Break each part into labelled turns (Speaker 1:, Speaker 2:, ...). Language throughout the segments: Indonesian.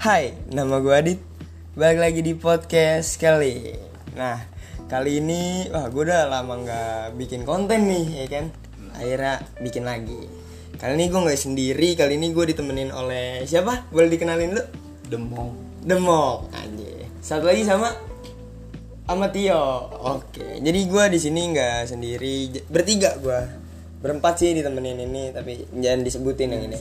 Speaker 1: Hai, nama gue Adit Balik lagi di podcast Kelly Nah, kali ini Wah, gue udah lama nggak bikin konten nih, ya kan? Akhirnya bikin lagi Kali ini gue nggak sendiri Kali ini gue ditemenin oleh siapa? Boleh dikenalin lu?
Speaker 2: Demong
Speaker 1: Demok aja. Satu lagi sama sama Tio. Oke. Jadi gua di sini nggak sendiri, j- bertiga gua. Berempat sih ditemenin ini, tapi jangan disebutin yang ini.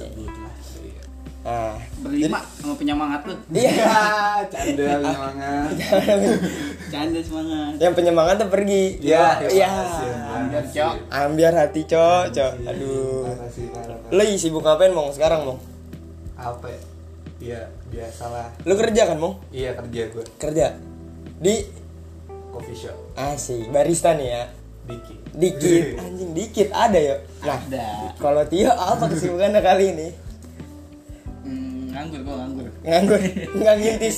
Speaker 1: Ah.
Speaker 3: berlima sama penyemangat lu
Speaker 1: Iya.
Speaker 2: Canda semangat
Speaker 3: canda semangat
Speaker 1: yang penyemangatnya pergi.
Speaker 2: Ya,
Speaker 1: Iya. Iya.
Speaker 3: cok
Speaker 1: Ambiar hati, Cok, Cok. Aduh. Lo sibuk ngapain, Mong, sekarang, Mong?
Speaker 2: Apa ya? Iya, biasalah
Speaker 1: Lo kerja kan, Mong?
Speaker 2: Iya kerja gue
Speaker 1: Kerja. Di
Speaker 2: Coffee shop
Speaker 1: asik, barista nih ya.
Speaker 2: Diki
Speaker 1: Dikit, anjing dikit Iya. ada ya. Nah,
Speaker 3: ada
Speaker 1: Kalau Tio apa kesibukannya kali ini?
Speaker 3: hmm, nganggur gua nganggur
Speaker 1: Nganggur, nggak ngintis,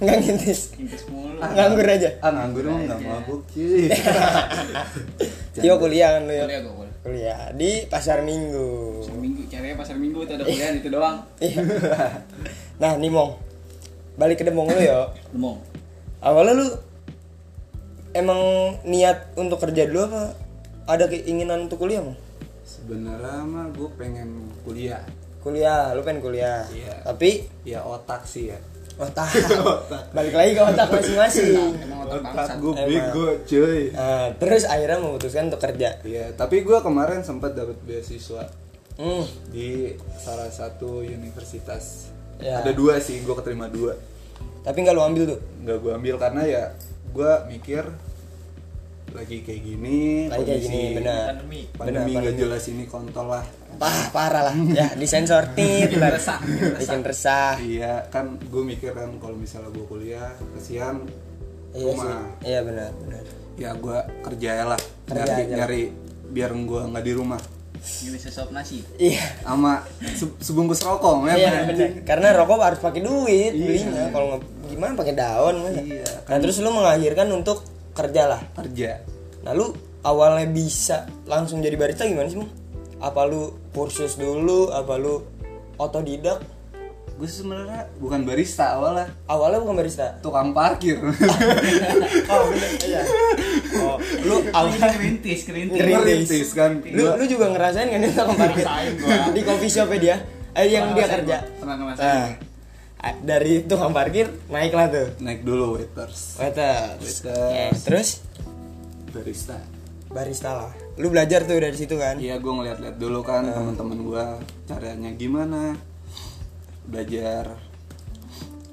Speaker 1: nggak ngintis,
Speaker 3: impis mulu
Speaker 1: nganggur aja.
Speaker 2: Ah nganggur emang gak mabuk cuy
Speaker 1: Tio kuliah kan lu ya?
Speaker 3: kuliah gua kuliah
Speaker 1: Kuliah di pasar minggu.
Speaker 3: pasar minggu caranya pasar minggu itu ada kuliah itu doang
Speaker 1: Iya. Nah, nih Mong, balik ke Demong lu ya.
Speaker 3: demong
Speaker 1: Awalnya lu emang niat untuk kerja dulu apa? Ada keinginan untuk kuliah Mong?
Speaker 2: Sebenernya mah gue pengen kuliah
Speaker 1: Kuliah, lu pengen kuliah.
Speaker 2: Iya.
Speaker 1: Tapi
Speaker 2: Ya otak sih ya
Speaker 1: otak. balik lagi ke otak masing-masing.
Speaker 3: emang otak
Speaker 2: Otak
Speaker 3: bangsat
Speaker 2: gue
Speaker 1: Emang.
Speaker 2: bego cuy
Speaker 1: Nah, terus akhirnya memutuskan untuk kerja.
Speaker 2: Iya, tapi gue kemarin sempat dapat beasiswa
Speaker 1: Hmm.
Speaker 2: di salah satu universitas.
Speaker 1: Ya.
Speaker 2: Ada dua sih, gue keterima dua.
Speaker 1: Tapi nggak lu ambil tuh.
Speaker 2: nggak gue ambil karena ya gue mikir lagi kayak gini
Speaker 1: Lagi kayak gini, benar.
Speaker 3: pandemi.
Speaker 2: pandemi
Speaker 1: Benar,
Speaker 2: nggak
Speaker 1: pandemi.
Speaker 2: jelas ini kontol lah
Speaker 1: Pah, parah lah. Ya, disensor tit.
Speaker 3: Bikin
Speaker 1: lah.
Speaker 3: resah,
Speaker 1: Bikin resah.
Speaker 2: iya kan gue mikir kan kalau misalnya gue kuliah kesian
Speaker 1: Iya sih.
Speaker 2: rumah
Speaker 1: Iya benar, benar.
Speaker 2: ya gue kerja aja lah
Speaker 1: Kerja
Speaker 2: nyari
Speaker 1: aja.
Speaker 2: nyari biar gue nggak di rumah
Speaker 3: gini sesop nasi
Speaker 1: Iya.
Speaker 2: sama se- sebungkus rokok ya. men
Speaker 1: Iya benar. Karena rokok harus pakai duit
Speaker 2: Iya.
Speaker 1: belinya. Kalau nggak gimana pakai daun masa?
Speaker 2: Iya,
Speaker 3: kan.
Speaker 1: Nah, terus lu mengakhirkan untuk kerja lah.
Speaker 2: kerja
Speaker 1: Nah, lu awalnya bisa langsung jadi barista gimana sih, Mung? Apa lu kursus dulu, apa lu otodidak?
Speaker 2: gue sebenarnya bukan barista awalnya
Speaker 1: Awalnya bukan barista.
Speaker 2: tukang parkir
Speaker 1: Oh, benar. Iya. Oh, lu awalnya
Speaker 3: kerintis kerintis
Speaker 2: ngerintis kan
Speaker 1: lu,
Speaker 2: Gua-
Speaker 1: lu juga ngerasain kan itu tukang parkir
Speaker 3: Ngerasain gua.
Speaker 1: di coffee shop ya dia eh, yang dia
Speaker 3: Ngerasain
Speaker 1: kerja
Speaker 3: gua, pernah ngerasain
Speaker 1: nah, a- dari tukang parkir naiklah tuh
Speaker 2: naik dulu waiters
Speaker 1: waiters
Speaker 2: Waiters.
Speaker 1: Eh, terus
Speaker 2: barista
Speaker 1: barista lah lu belajar tuh dari situ kan
Speaker 2: Iya gue ngeliat-liat dulu kan teman-teman gue caranya gimana belajar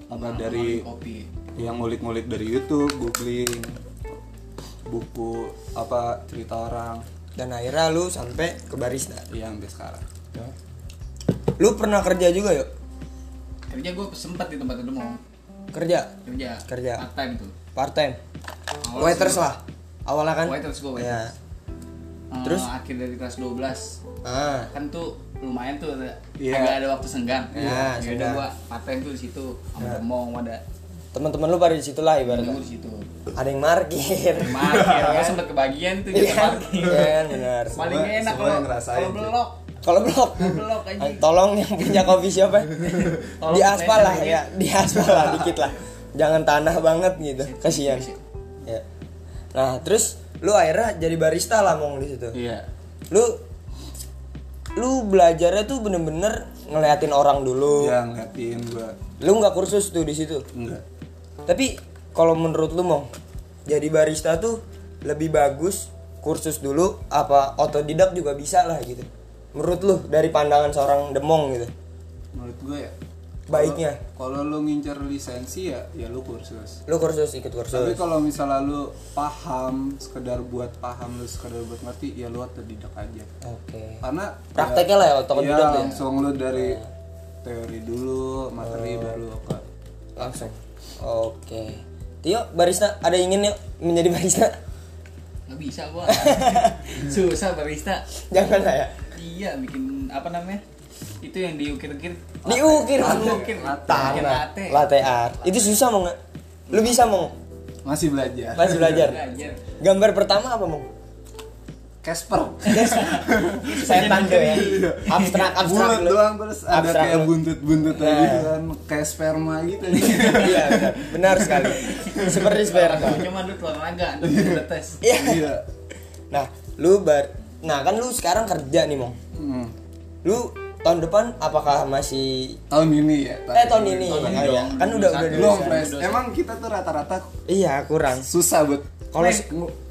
Speaker 2: apa dari
Speaker 3: kopi
Speaker 2: yang ngulik-ngulik dari YouTube, googling buku apa cerita orang
Speaker 1: dan akhirnya lu sampai ke barista
Speaker 2: yang sampai sekarang.
Speaker 1: lu pernah kerja juga yuk
Speaker 3: kerja gua sempet di tempat demong
Speaker 1: kerja
Speaker 3: kerja
Speaker 1: Kerja.
Speaker 3: part time tuh
Speaker 1: part time
Speaker 3: Awalnya
Speaker 1: waiters lah awalnya kan
Speaker 3: Waiters gua, waiters.
Speaker 1: Iya.
Speaker 3: Eh,
Speaker 1: Terus?
Speaker 3: akhir dari kelas 12
Speaker 1: ah
Speaker 3: kan tuh lumayan tuh ada
Speaker 2: Iya.
Speaker 3: agak ada waktu senggang
Speaker 1: Iya,
Speaker 3: ya
Speaker 1: sudah.
Speaker 3: udah gua paten tuh di situ sama demong ada
Speaker 1: teman-teman lu pada di situ lah
Speaker 3: minggu
Speaker 1: ibaratnya
Speaker 3: di situ
Speaker 1: ada yang markir kan?
Speaker 3: parkir gua ya, sempet kebagian tuh
Speaker 1: Iya
Speaker 3: kita
Speaker 1: kan?
Speaker 3: parkir
Speaker 1: Iya kan, benar
Speaker 3: paling
Speaker 2: Semua-
Speaker 3: enak
Speaker 2: semua
Speaker 3: kalau
Speaker 2: yang ngerasain,
Speaker 3: kalau
Speaker 2: cuy.
Speaker 3: belok
Speaker 1: Kalau blok, Eh,
Speaker 3: Blok, anjing.
Speaker 1: tolong yang punya coffee shop ya.
Speaker 3: Tolong
Speaker 1: di aspal lah
Speaker 3: please,
Speaker 1: ya, di aspal lah dikit lah. Jangan tanah banget gitu, kasihan.
Speaker 3: Sip, sip.
Speaker 1: Ya. Nah, terus lu akhirnya jadi barista lah mong di situ.
Speaker 2: Iya.
Speaker 1: Lu lu belajarnya tuh bener-bener ngeliatin orang dulu.
Speaker 2: Yang Iya, ngeliatin gue
Speaker 1: Lu nggak kursus tuh di situ.
Speaker 2: enggak.
Speaker 1: Tapi kalau menurut lu mong, jadi barista tuh lebih bagus kursus dulu apa otodidak juga bisa lah gitu. Menurut lu dari pandangan seorang demong gitu.
Speaker 2: Menurut gue ya.
Speaker 1: Baiknya.
Speaker 2: Kalau lu ngincer lisensi ya, ya lu kursus.
Speaker 1: lu kursus ikut
Speaker 2: Tapi
Speaker 1: kursus
Speaker 2: kalau misalnya lu paham, sekedar buat paham, lu sekedar buat ngerti, ya lu otodidak aja.
Speaker 1: oke
Speaker 2: karena
Speaker 1: Prakteknya lah ya, otodidak
Speaker 2: iya,
Speaker 1: ya. Iya.
Speaker 2: langsung lu dari teori
Speaker 1: Oh.
Speaker 2: dulu materi baru ke
Speaker 1: langsung oke Tio barista ada ingin yuk menjadi barista
Speaker 3: nggak bisa gua susah barista
Speaker 1: jangan lah ya
Speaker 3: iya bikin apa namanya itu yang diukir-ukir
Speaker 1: diukir
Speaker 3: Diukir. Bikin
Speaker 1: tanah
Speaker 3: latte.
Speaker 1: latte art itu susah mau nggak lu bisa mau
Speaker 2: masih belajar
Speaker 1: masih belajar
Speaker 3: Belajar.
Speaker 1: gambar pertama apa mau
Speaker 2: Casper
Speaker 1: setan tuh ya abstrak abstrak
Speaker 2: bulat
Speaker 1: lu.
Speaker 2: doang terus ada
Speaker 1: Abstrak
Speaker 2: kayak
Speaker 1: lu.
Speaker 2: buntut-buntut
Speaker 1: Nah.
Speaker 2: gitu kan kayak sperma gitu
Speaker 1: iya benar. benar sekali seperti sperma
Speaker 3: Cuma dulu olahraga untuk kita tes.
Speaker 1: iya
Speaker 2: iya
Speaker 1: nah lu bar nah kan lu sekarang kerja nih mong
Speaker 2: Hmm.
Speaker 1: lu tahun depan apakah masih
Speaker 2: tahun ini ya
Speaker 1: eh tahun ini
Speaker 3: Tahun ini
Speaker 1: Oh, iya.
Speaker 3: dong.
Speaker 1: kan udah udah
Speaker 3: Satu.
Speaker 1: dulu
Speaker 2: belum
Speaker 3: Dua,
Speaker 2: Pres.
Speaker 3: dua,
Speaker 2: emang kita tuh rata-rata
Speaker 1: iya kurang
Speaker 2: susah buat
Speaker 1: kalau
Speaker 3: Flash-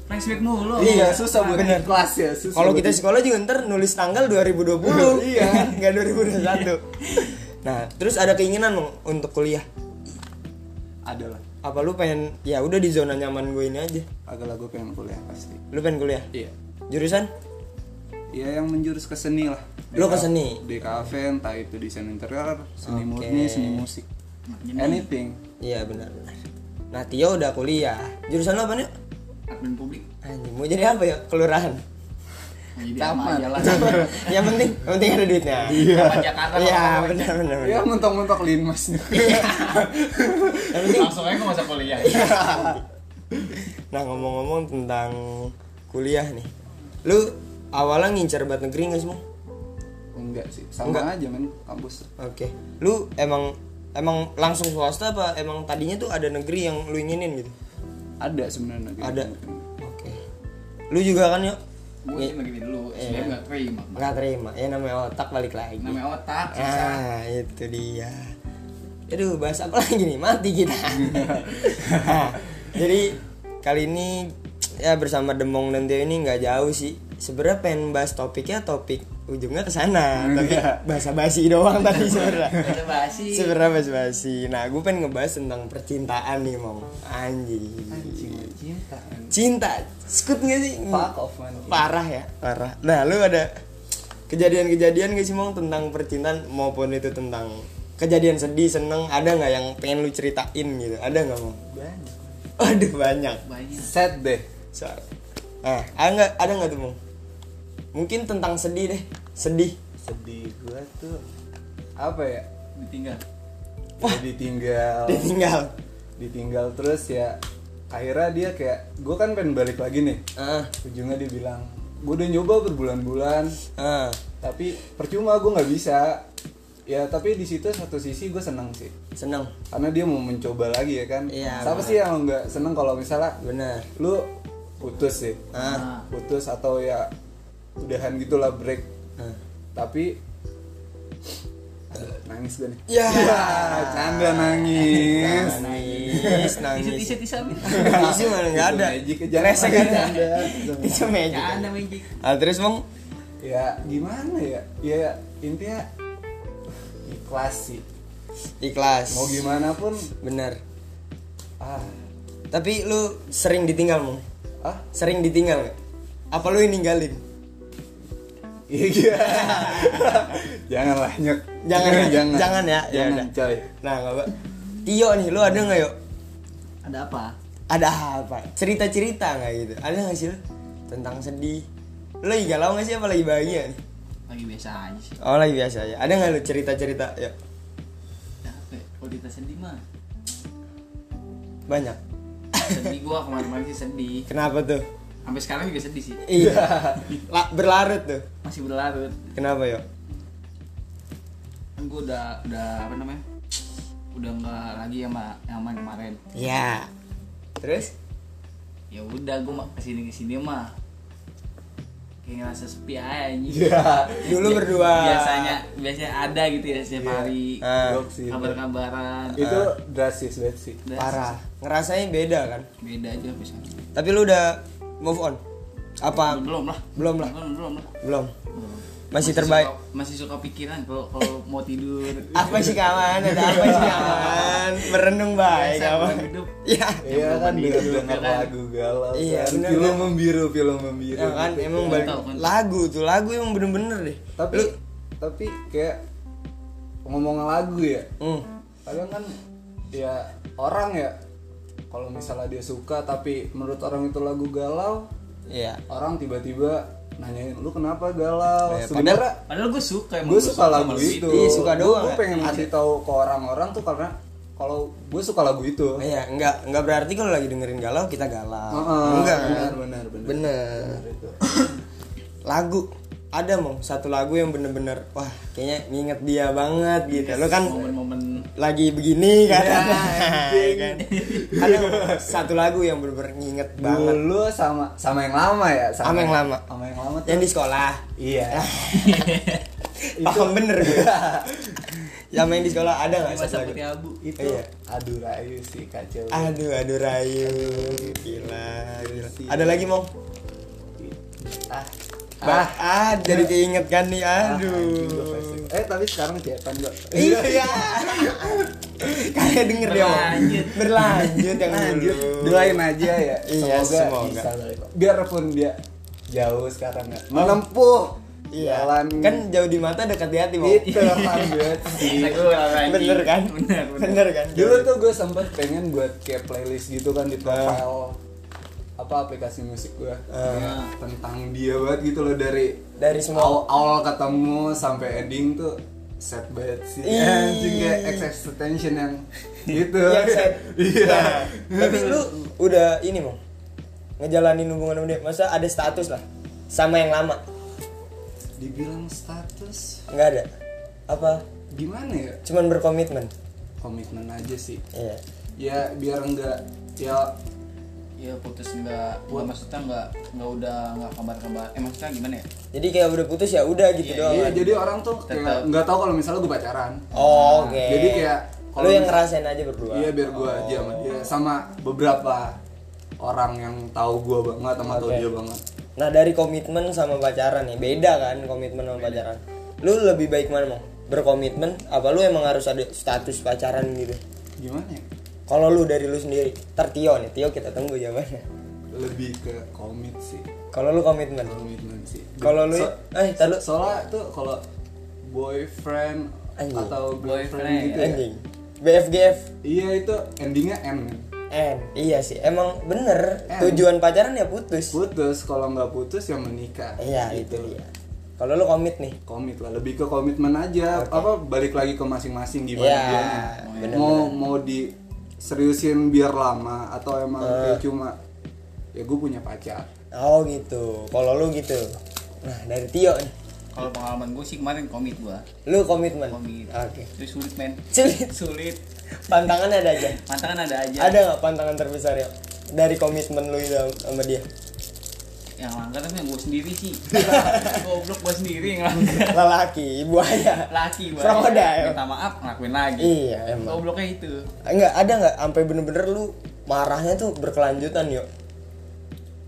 Speaker 3: flashback mulu.
Speaker 2: iya susah buat
Speaker 1: Bener.
Speaker 2: kelas ya susah
Speaker 1: kalau
Speaker 2: buat
Speaker 1: kita sekolah juga ntar nulis tanggal 2020
Speaker 2: Iya.
Speaker 1: nggak Iya. 2021 nah terus ada keinginan Mong, untuk kuliah
Speaker 2: adalah
Speaker 1: apa lu pengen ya udah di zona nyaman gue ini aja
Speaker 2: agak lagu pengen kuliah pasti
Speaker 1: lu pengen kuliah
Speaker 2: iya
Speaker 1: jurusan
Speaker 2: ya yang menjurus ke seni lah
Speaker 1: Lu ke
Speaker 2: DKV
Speaker 1: seni?
Speaker 2: DKV entah itu desain interior seni
Speaker 1: Oke.
Speaker 2: murni seni musik anything
Speaker 1: iya benar benar nah Tio udah kuliah jurusan lo apa nih
Speaker 3: Admin publik.
Speaker 1: anjing mau jadi apa ya kelurahan
Speaker 3: Jadi
Speaker 2: Camat.
Speaker 3: sama aja lah.
Speaker 1: yang penting yang penting ada duitnya
Speaker 3: Camat Jakarta.
Speaker 1: iya
Speaker 3: lah.
Speaker 1: benar benar benar.
Speaker 2: ya mentok-mentok linmas
Speaker 1: yang penting
Speaker 3: Langsung aja ke masa kuliah.
Speaker 1: Iya. nah ngomong-ngomong tentang kuliah nih lu awalnya ngincar buat negeri nggak sih Mong?
Speaker 2: enggak sih sama aja men kampus
Speaker 1: Oke. Lu emang emang langsung swasta apa emang tadinya tuh ada negeri yang lu inginin gitu?
Speaker 2: ada sebenarnya gitu.
Speaker 1: Ada. Oke. Lu juga kan yuk Iya.
Speaker 3: Gue sih begini dulu. SBM nggak terima.
Speaker 1: nggak terima. Ya namanya otak balik lagi.
Speaker 3: Namanya otak. susah.
Speaker 1: Ah, itu dia. Aduh, bahas apa lagi nih? Mati kita. Nah, jadi kali ini ya bersama Demong dan Tio ini nggak jauh sih. Sebenarnya pengen bahas topiknya topik ujungnya ke sana, tapi
Speaker 2: Iya.
Speaker 1: bahasa-basi doang tadi sebenarnya.
Speaker 3: Bahasa basi.
Speaker 1: Sebenarnya basi-basi. Nah, gue pengen ngebahas tentang percintaan nih, Mong. Anjing.
Speaker 2: cinta
Speaker 1: Cinta. Skut gak sih?
Speaker 2: fuck off man
Speaker 1: Parah ya, parah. Nah, lu ada kejadian-kejadian gak sih, Mong, tentang percintaan maupun itu tentang kejadian sedih, seneng, ada nggak yang pengen lu ceritain gitu? Ada nggak, Mong?
Speaker 2: banyak
Speaker 1: Aduh, banyak.
Speaker 3: Banyak.
Speaker 2: sad deh
Speaker 1: Soal. Nah, ada nggak ada nggak tuh, Mong? Mungkin tentang sedih deh. Sedih.
Speaker 2: sedih gua tuh apa ya
Speaker 3: Ditinggal.
Speaker 2: Wah. ditinggal
Speaker 1: Ditinggal.
Speaker 2: ditinggal terus ya akhirnya dia kayak gue kan pengen balik lagi nih
Speaker 1: Ah,
Speaker 2: ujungnya dia bilang gue udah nyoba berbulan-bulan
Speaker 1: ah.
Speaker 2: tapi percuma gue nggak bisa ya tapi di situ satu sisi gue seneng sih
Speaker 1: Seneng.
Speaker 2: karena dia mau mencoba lagi ya kan
Speaker 1: Iya,
Speaker 2: siapa
Speaker 1: benar.
Speaker 2: sih yang nggak seneng kalau misalnya
Speaker 1: Bener.
Speaker 2: lu putus sih
Speaker 1: Ah.
Speaker 3: Nah,
Speaker 2: putus atau ya udahan gitulah break
Speaker 1: ah.
Speaker 2: tapi Aduh, nangis gue nih
Speaker 1: Ya.
Speaker 2: canda nangis
Speaker 1: nangis
Speaker 3: Tisu
Speaker 1: nangis
Speaker 3: tisu tisu amin.
Speaker 1: tisu mana nggak ada
Speaker 2: Magic aja.
Speaker 1: resek aja
Speaker 2: Canda.
Speaker 1: tisu magic
Speaker 3: Canda magic.
Speaker 1: ah terus mong
Speaker 2: ya gimana ya ya intinya ikhlas sih
Speaker 1: ikhlas
Speaker 2: mau gimana pun
Speaker 1: bener
Speaker 2: ah
Speaker 1: tapi lu sering ditinggal mong
Speaker 2: ah
Speaker 1: sering ditinggal nggak apa lu yang ninggalin
Speaker 2: iya iya janganlah nyek
Speaker 1: Jangan, ya?
Speaker 2: jangan
Speaker 1: Jangan ya? Ya
Speaker 2: jangan
Speaker 1: udah.
Speaker 2: coy
Speaker 1: nah nggak apa Tio nih lu ada nggak yuk
Speaker 3: Ada apa?
Speaker 1: ada apa cerita cerita nggak gitu ada nggak sih lu tentang sedih lu lagi galau nggak sih apa lagi bahagia nih
Speaker 3: Lagi biasa aja sih.
Speaker 1: oh lagi biasa aja ada nggak lu cerita cerita yuk
Speaker 3: Capek. Kalau kita sedih mah.
Speaker 1: banyak
Speaker 3: Sedih gua kemarin-kemarin sih sedih.
Speaker 1: kenapa tuh
Speaker 3: Sampai sekarang juga sedih sih.
Speaker 1: iya La- berlarut tuh
Speaker 3: Masih berlarut.
Speaker 1: Kenapa yo?
Speaker 3: kan gue udah udah apa namanya udah nggak lagi sama yang main kemarin
Speaker 1: Ya. Terus?
Speaker 3: ya udah gue mah kesini kesini mah kayak ngerasa sepi aja anjing.
Speaker 2: ya
Speaker 1: Iya. Dulu berdua.
Speaker 3: biasanya biasanya ada gitu ya setiap
Speaker 2: Iya.
Speaker 3: hari
Speaker 1: Ah.
Speaker 2: jok sih
Speaker 3: kabar-kabaran
Speaker 2: itu drastis banget sih
Speaker 3: Udah
Speaker 1: Parah. Ngerasain beda kan?
Speaker 3: beda aja misalnya
Speaker 1: Tapi lu udah move on? Apa?
Speaker 3: belum lah
Speaker 1: Belum lah.
Speaker 3: belum belum lah
Speaker 1: Belum.
Speaker 3: Belum.
Speaker 1: Masih terbaik. Iya,
Speaker 3: suka- masih suka pikiran kalau kalau mau tidur
Speaker 1: Apa sih kawan? Ada apa sih kawan? Merenung baik
Speaker 3: Biasa,
Speaker 1: kawan.
Speaker 3: bulan hidup.
Speaker 1: Ya.
Speaker 2: Iya kan dengan
Speaker 3: Yang belum
Speaker 2: dengar
Speaker 3: meninggal.
Speaker 2: lagu galau
Speaker 1: Iya,
Speaker 2: kan.
Speaker 1: bener,
Speaker 2: film
Speaker 1: bener.
Speaker 2: membiru film membiru
Speaker 1: Ya kan
Speaker 3: Iya,
Speaker 2: gitu.
Speaker 1: emang balik
Speaker 3: Mantap, mantap.
Speaker 1: lagu tuh lagu emang bener-bener deh.
Speaker 2: tapi
Speaker 1: Lu,
Speaker 2: tapi kayak ngomong lagu ya
Speaker 1: hmm.
Speaker 2: kadang kan ya orang ya kalau misalnya dia suka tapi menurut orang itu lagu galau
Speaker 1: Iya.
Speaker 2: orang tiba-tiba nanyain lu kenapa galau
Speaker 1: Ya,
Speaker 2: sebenarnya
Speaker 3: padahal gue suka emang
Speaker 2: gue
Speaker 3: gua
Speaker 2: suka eh. lagu
Speaker 3: sama
Speaker 2: itu
Speaker 1: Iya, suka doang.
Speaker 2: gue pengen ngasih tahu ke orang-orang tuh karena kalau gue suka lagu itu
Speaker 1: Iya, enggak enggak berarti kalau lagi dengerin galau kan? kita galau.
Speaker 2: Heeh,
Speaker 1: enggak.
Speaker 2: benar benar benar
Speaker 1: Bener.
Speaker 2: Itu.
Speaker 1: lagu ada mau satu lagu yang bener-bener wah kayaknya nginget dia banget gitu lo kan
Speaker 3: momen-momen
Speaker 1: lagi begini kan, Iya kan? ada Mong, satu lagu yang bener-bener nginget banget
Speaker 2: Dulu sama sama yang lama ya,
Speaker 1: Sama yang lama.
Speaker 2: Sama yang lama tuh.
Speaker 1: yang di sekolah
Speaker 2: Iya.
Speaker 1: paham bener gue sama yang di sekolah ada nggak satu
Speaker 3: masa
Speaker 1: lagu
Speaker 3: putih abu
Speaker 2: Itu
Speaker 1: Iya.
Speaker 2: aduh rayu sih kacau.
Speaker 1: aduh aduh rayu gila, gila. ada lagi mong
Speaker 2: Ah.
Speaker 1: ah, ah jadi keinget kan nih
Speaker 2: anjing,
Speaker 1: aduh
Speaker 2: gua plastik. Eh tapi sekarang cetan gua.
Speaker 1: Iya. Kalian denger dia Om.
Speaker 3: Berlanjut.
Speaker 1: Berlanjut yang
Speaker 2: Lanjut,
Speaker 1: dulu.
Speaker 2: doain aja ya.
Speaker 1: Iya,
Speaker 2: semoga,
Speaker 1: semoga.
Speaker 2: bisa balik. Biarpun dia jauh sekarang ya. Menempuh
Speaker 1: Iya.
Speaker 2: jalan Iya.
Speaker 1: Kan jauh di mata dekat di hati, Om.
Speaker 2: itu banget sih.
Speaker 1: iya. Bener kan?
Speaker 3: bener bener
Speaker 1: Bener kan?
Speaker 2: Dulu Ya tuh gue sempet pengen buat kayak playlist gitu kan di profile apa aplikasi musik gue tentang dia banget gitu loh dari
Speaker 1: dari semua
Speaker 2: awal, awal ketemu sampai ending tuh sad banget sih
Speaker 1: Ih.
Speaker 2: anjing kayak extension yang gitu
Speaker 1: Yang set.
Speaker 2: iya
Speaker 1: Nah, Tapi lu udah ini, Mong. Ngejalanin hubungan sama dia. Masa ada status lah sama yang lama?
Speaker 2: dibilang status
Speaker 1: Enggak ada. Apa?
Speaker 2: gimana ya
Speaker 1: Cuman berkomitmen.
Speaker 2: komitmen aja sih
Speaker 1: Iya.
Speaker 2: ya biar enggak ya
Speaker 3: ya putus nggak gua maksudnya nggak nggak udah nggak kabar-kabar eh maksudnya gimana ya
Speaker 1: Jadi kayak udah putus ya udah gitu
Speaker 3: Iya,
Speaker 1: doang.
Speaker 2: iya,
Speaker 1: kan?
Speaker 2: jadi orang tuh
Speaker 3: Tetap.
Speaker 2: kayak nggak tahu kalau misalnya gue pacaran
Speaker 1: Oh, Oke.
Speaker 2: Nah, jadi kayak
Speaker 1: lu
Speaker 2: kalau
Speaker 1: yang
Speaker 2: misalnya-
Speaker 1: ngerasain aja berdua.
Speaker 2: Iya biar gue aja sama dia sama beberapa orang yang tahu gue banget sama tahu
Speaker 1: Oke.
Speaker 2: dia banget.
Speaker 1: Nah dari komitmen sama pacaran nih beda kan komitmen sama pacaran. Lu lebih baik mana mau berkomitmen? Apa lu emang harus ada status pacaran gitu?
Speaker 2: Gimana ya?
Speaker 1: Kalau lu dari lu sendiri, tertio nih Tio kita tunggu jawabannya.
Speaker 2: Lebih ke komit sih,
Speaker 1: Kalau lu komitmen,
Speaker 2: komitmen sih.
Speaker 1: kalau lu
Speaker 2: So-
Speaker 1: eh tahu
Speaker 2: soalnya tuh kalau boyfriend
Speaker 1: Anjing.
Speaker 2: atau girlfriend
Speaker 3: Boyfriend,
Speaker 2: gitu ya.
Speaker 1: anjing BFGF
Speaker 2: Iya itu endingnya M
Speaker 1: N iya sih emang bener
Speaker 2: N.
Speaker 1: tujuan pacaran ya putus.
Speaker 2: putus kalau nggak putus ya menikah.
Speaker 1: Iya itu dia. Kalau lu komit nih
Speaker 2: komit lah lebih ke komitmen aja apa balik lagi ke masing-masing gimana
Speaker 3: Iya,
Speaker 1: Ya,
Speaker 2: dianya.
Speaker 1: bener-bener.
Speaker 2: mau mau di seriusin biar lama atau emang
Speaker 3: Eh.
Speaker 2: kayak cuma ya gue punya pacar
Speaker 1: Oh gitu. Kalau lu gitu. Nah dari Tio nih,
Speaker 3: kalau pengalaman gue sih kemarin komit gua
Speaker 1: lu komitmen.
Speaker 3: komit
Speaker 1: Oke.
Speaker 3: itu sulit men
Speaker 1: Sulit.
Speaker 3: sulit
Speaker 1: Pantangan ada aja.
Speaker 3: pantangan ada aja
Speaker 1: Ada nggak pantangan terbesar ya dari komitmen lu itu sama dia?
Speaker 3: yang langgar tapi yang gue sendiri sih goblok gue sendiri yang langgar
Speaker 1: Lelaki, buaya.
Speaker 3: laki Iya, gua
Speaker 1: Crocodile.
Speaker 3: minta maaf ngelakuin lagi
Speaker 1: ya. Iya emang.
Speaker 3: gobloknya itu
Speaker 1: Enggak ada nggak sampai bener-bener lu marahnya tuh berkelanjutan yuk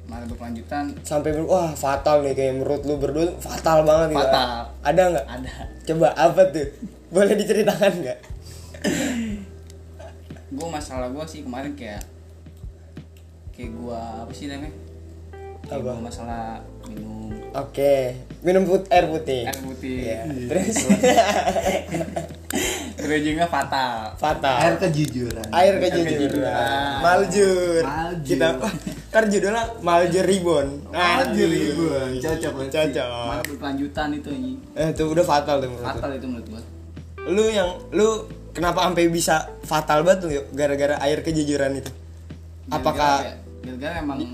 Speaker 3: malah berkelanjutan
Speaker 1: sampai ber- wah fatal nih kayak menurut lu berdua tuh fatal banget gitu.
Speaker 3: Fatal.
Speaker 1: Ada nggak?
Speaker 3: ada
Speaker 1: Coba apa tuh? Boleh diceritakan nggak?
Speaker 3: gue masalah gue sih kemarin kayak kayak gue apa sih namanya kayak
Speaker 1: Apa?
Speaker 3: gue masalah minum
Speaker 1: Oke, minum put air putih.
Speaker 3: air putih
Speaker 1: Iya. Terus
Speaker 3: Gerejengnya fatal
Speaker 1: fatal.
Speaker 2: kejujuran
Speaker 1: Air
Speaker 3: kejujuran.
Speaker 1: kejujuran. Maljur.
Speaker 2: Ah. Maljur.
Speaker 1: Kita ntar judulnya Maljur Ribbon.
Speaker 2: Maljur
Speaker 1: Aduh.
Speaker 2: Ribbon. Cocok banget sih.
Speaker 1: Cocok.
Speaker 3: malah berkelanjutan itu anjing
Speaker 1: Eh, itu udah fatal tuh menurut
Speaker 3: fatal itu menurut gue
Speaker 1: lu. Lu yang lu kenapa sampai bisa fatal banget lu yuk, gara-gara air kejujuran itu? Apakah
Speaker 3: gara-gara emang
Speaker 2: ya?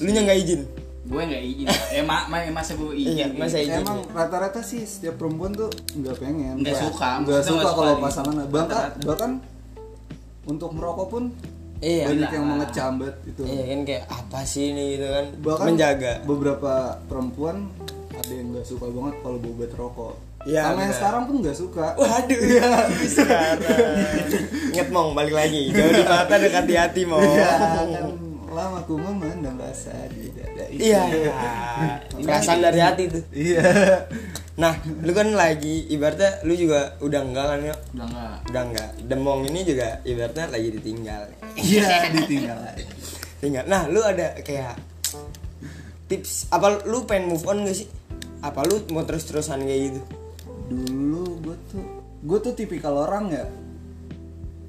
Speaker 1: lu nya nggak izin?
Speaker 3: gue nggak izin eh ma ma masa gue
Speaker 1: Iya,
Speaker 3: izin
Speaker 1: masa izin.
Speaker 2: emang rata-rata sih setiap perempuan tuh nggak pengen
Speaker 3: Nggak
Speaker 2: Nggak-
Speaker 3: suka,
Speaker 2: nggak
Speaker 3: maksudnya
Speaker 2: suka
Speaker 3: nggak
Speaker 2: kalau
Speaker 3: suka
Speaker 2: pasangan
Speaker 3: di-
Speaker 2: bahkan
Speaker 3: rata-rata.
Speaker 2: bahkan untuk merokok pun
Speaker 1: Iya.
Speaker 2: banyak yang
Speaker 3: lah.
Speaker 2: mengecambat itu
Speaker 1: Iya kan kayak apa sih ini gitu kan
Speaker 2: bahkan
Speaker 1: menjaga.
Speaker 2: beberapa perempuan ada yang nggak suka banget kalau bau obat rokok
Speaker 1: Iya,
Speaker 2: sama yang
Speaker 1: benar.
Speaker 2: sekarang pun nggak suka
Speaker 1: Waduh. Iya, Sekarang. Ingat mong balik lagi. Jauh di mata dekat di hati mong.
Speaker 2: Iya, kan lama ku memandang rasa di dada itu.
Speaker 1: Iya. Perasaan dari hati tuh.
Speaker 2: Iya.
Speaker 1: Nah, lu kan lagi ibaratnya lu juga udah enggak kan ya?
Speaker 3: udah nggak
Speaker 1: Udah enggak. Demong ini juga ibaratnya lagi ditinggal.
Speaker 2: Iya, ditinggal.
Speaker 1: Tinggal. Nah, lu ada kayak tips apa lu pengen move on gak sih? Apa lu mau terus-terusan kayak gitu?
Speaker 2: Dulu gue tuh gue tuh tipikal orang ya.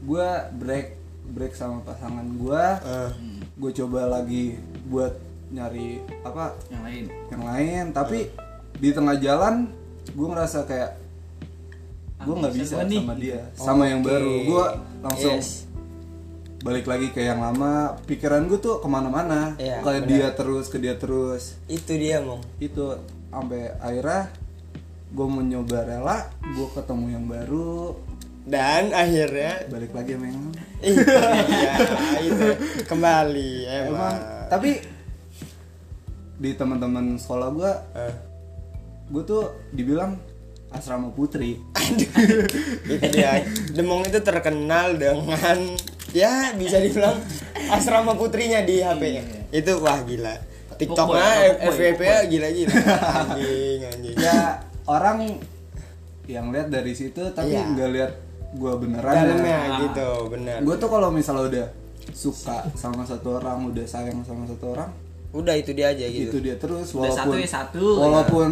Speaker 2: Gue break break sama pasangan gue.
Speaker 1: Eh.
Speaker 2: Gue coba lagi buat nyari apa
Speaker 3: yang lain
Speaker 2: yang lain, tapi di tengah jalan gue ngerasa kayak gue nggak
Speaker 3: bisa
Speaker 2: bisa
Speaker 3: gua nih.
Speaker 2: sama dia, sama yang
Speaker 1: Oke.
Speaker 2: baru. Gue langsung
Speaker 1: Yes.
Speaker 2: balik lagi ke yang lama pikiran gue tuh kemana-mana
Speaker 1: Iya,
Speaker 2: ke dia terus ke dia terus
Speaker 1: itu dia mong
Speaker 2: itu sampai akhirnya gue mencoba rela gue ketemu yang baru
Speaker 1: dan akhirnya iya,
Speaker 2: balik lagi sama yang lama.
Speaker 1: itu dia itu kembali
Speaker 2: emang
Speaker 1: emang,
Speaker 2: tapi di teman-teman sekolah gue
Speaker 1: Eh,
Speaker 2: gue tuh dibilang asrama putri
Speaker 1: itu dia Demong Iya, itu terkenal dengan ya bisa dibilang asrama putrinya di HP-nya itu wah gila TikToknya
Speaker 3: Pokoknya,
Speaker 1: FYP
Speaker 3: pokoknya.
Speaker 1: gila gila anjing anjing
Speaker 2: ya orang yang lihat dari situ tapi
Speaker 1: Iya.
Speaker 2: nggak lihat gue beneran
Speaker 1: dalamnya gitu benar
Speaker 2: gue tuh kalau misalnya udah suka sama satu orang udah sayang sama satu orang
Speaker 1: udah itu dia aja
Speaker 2: itu
Speaker 1: gitu
Speaker 2: dia terus
Speaker 3: Udah
Speaker 2: walaupun
Speaker 3: satu ya satu.
Speaker 2: walaupun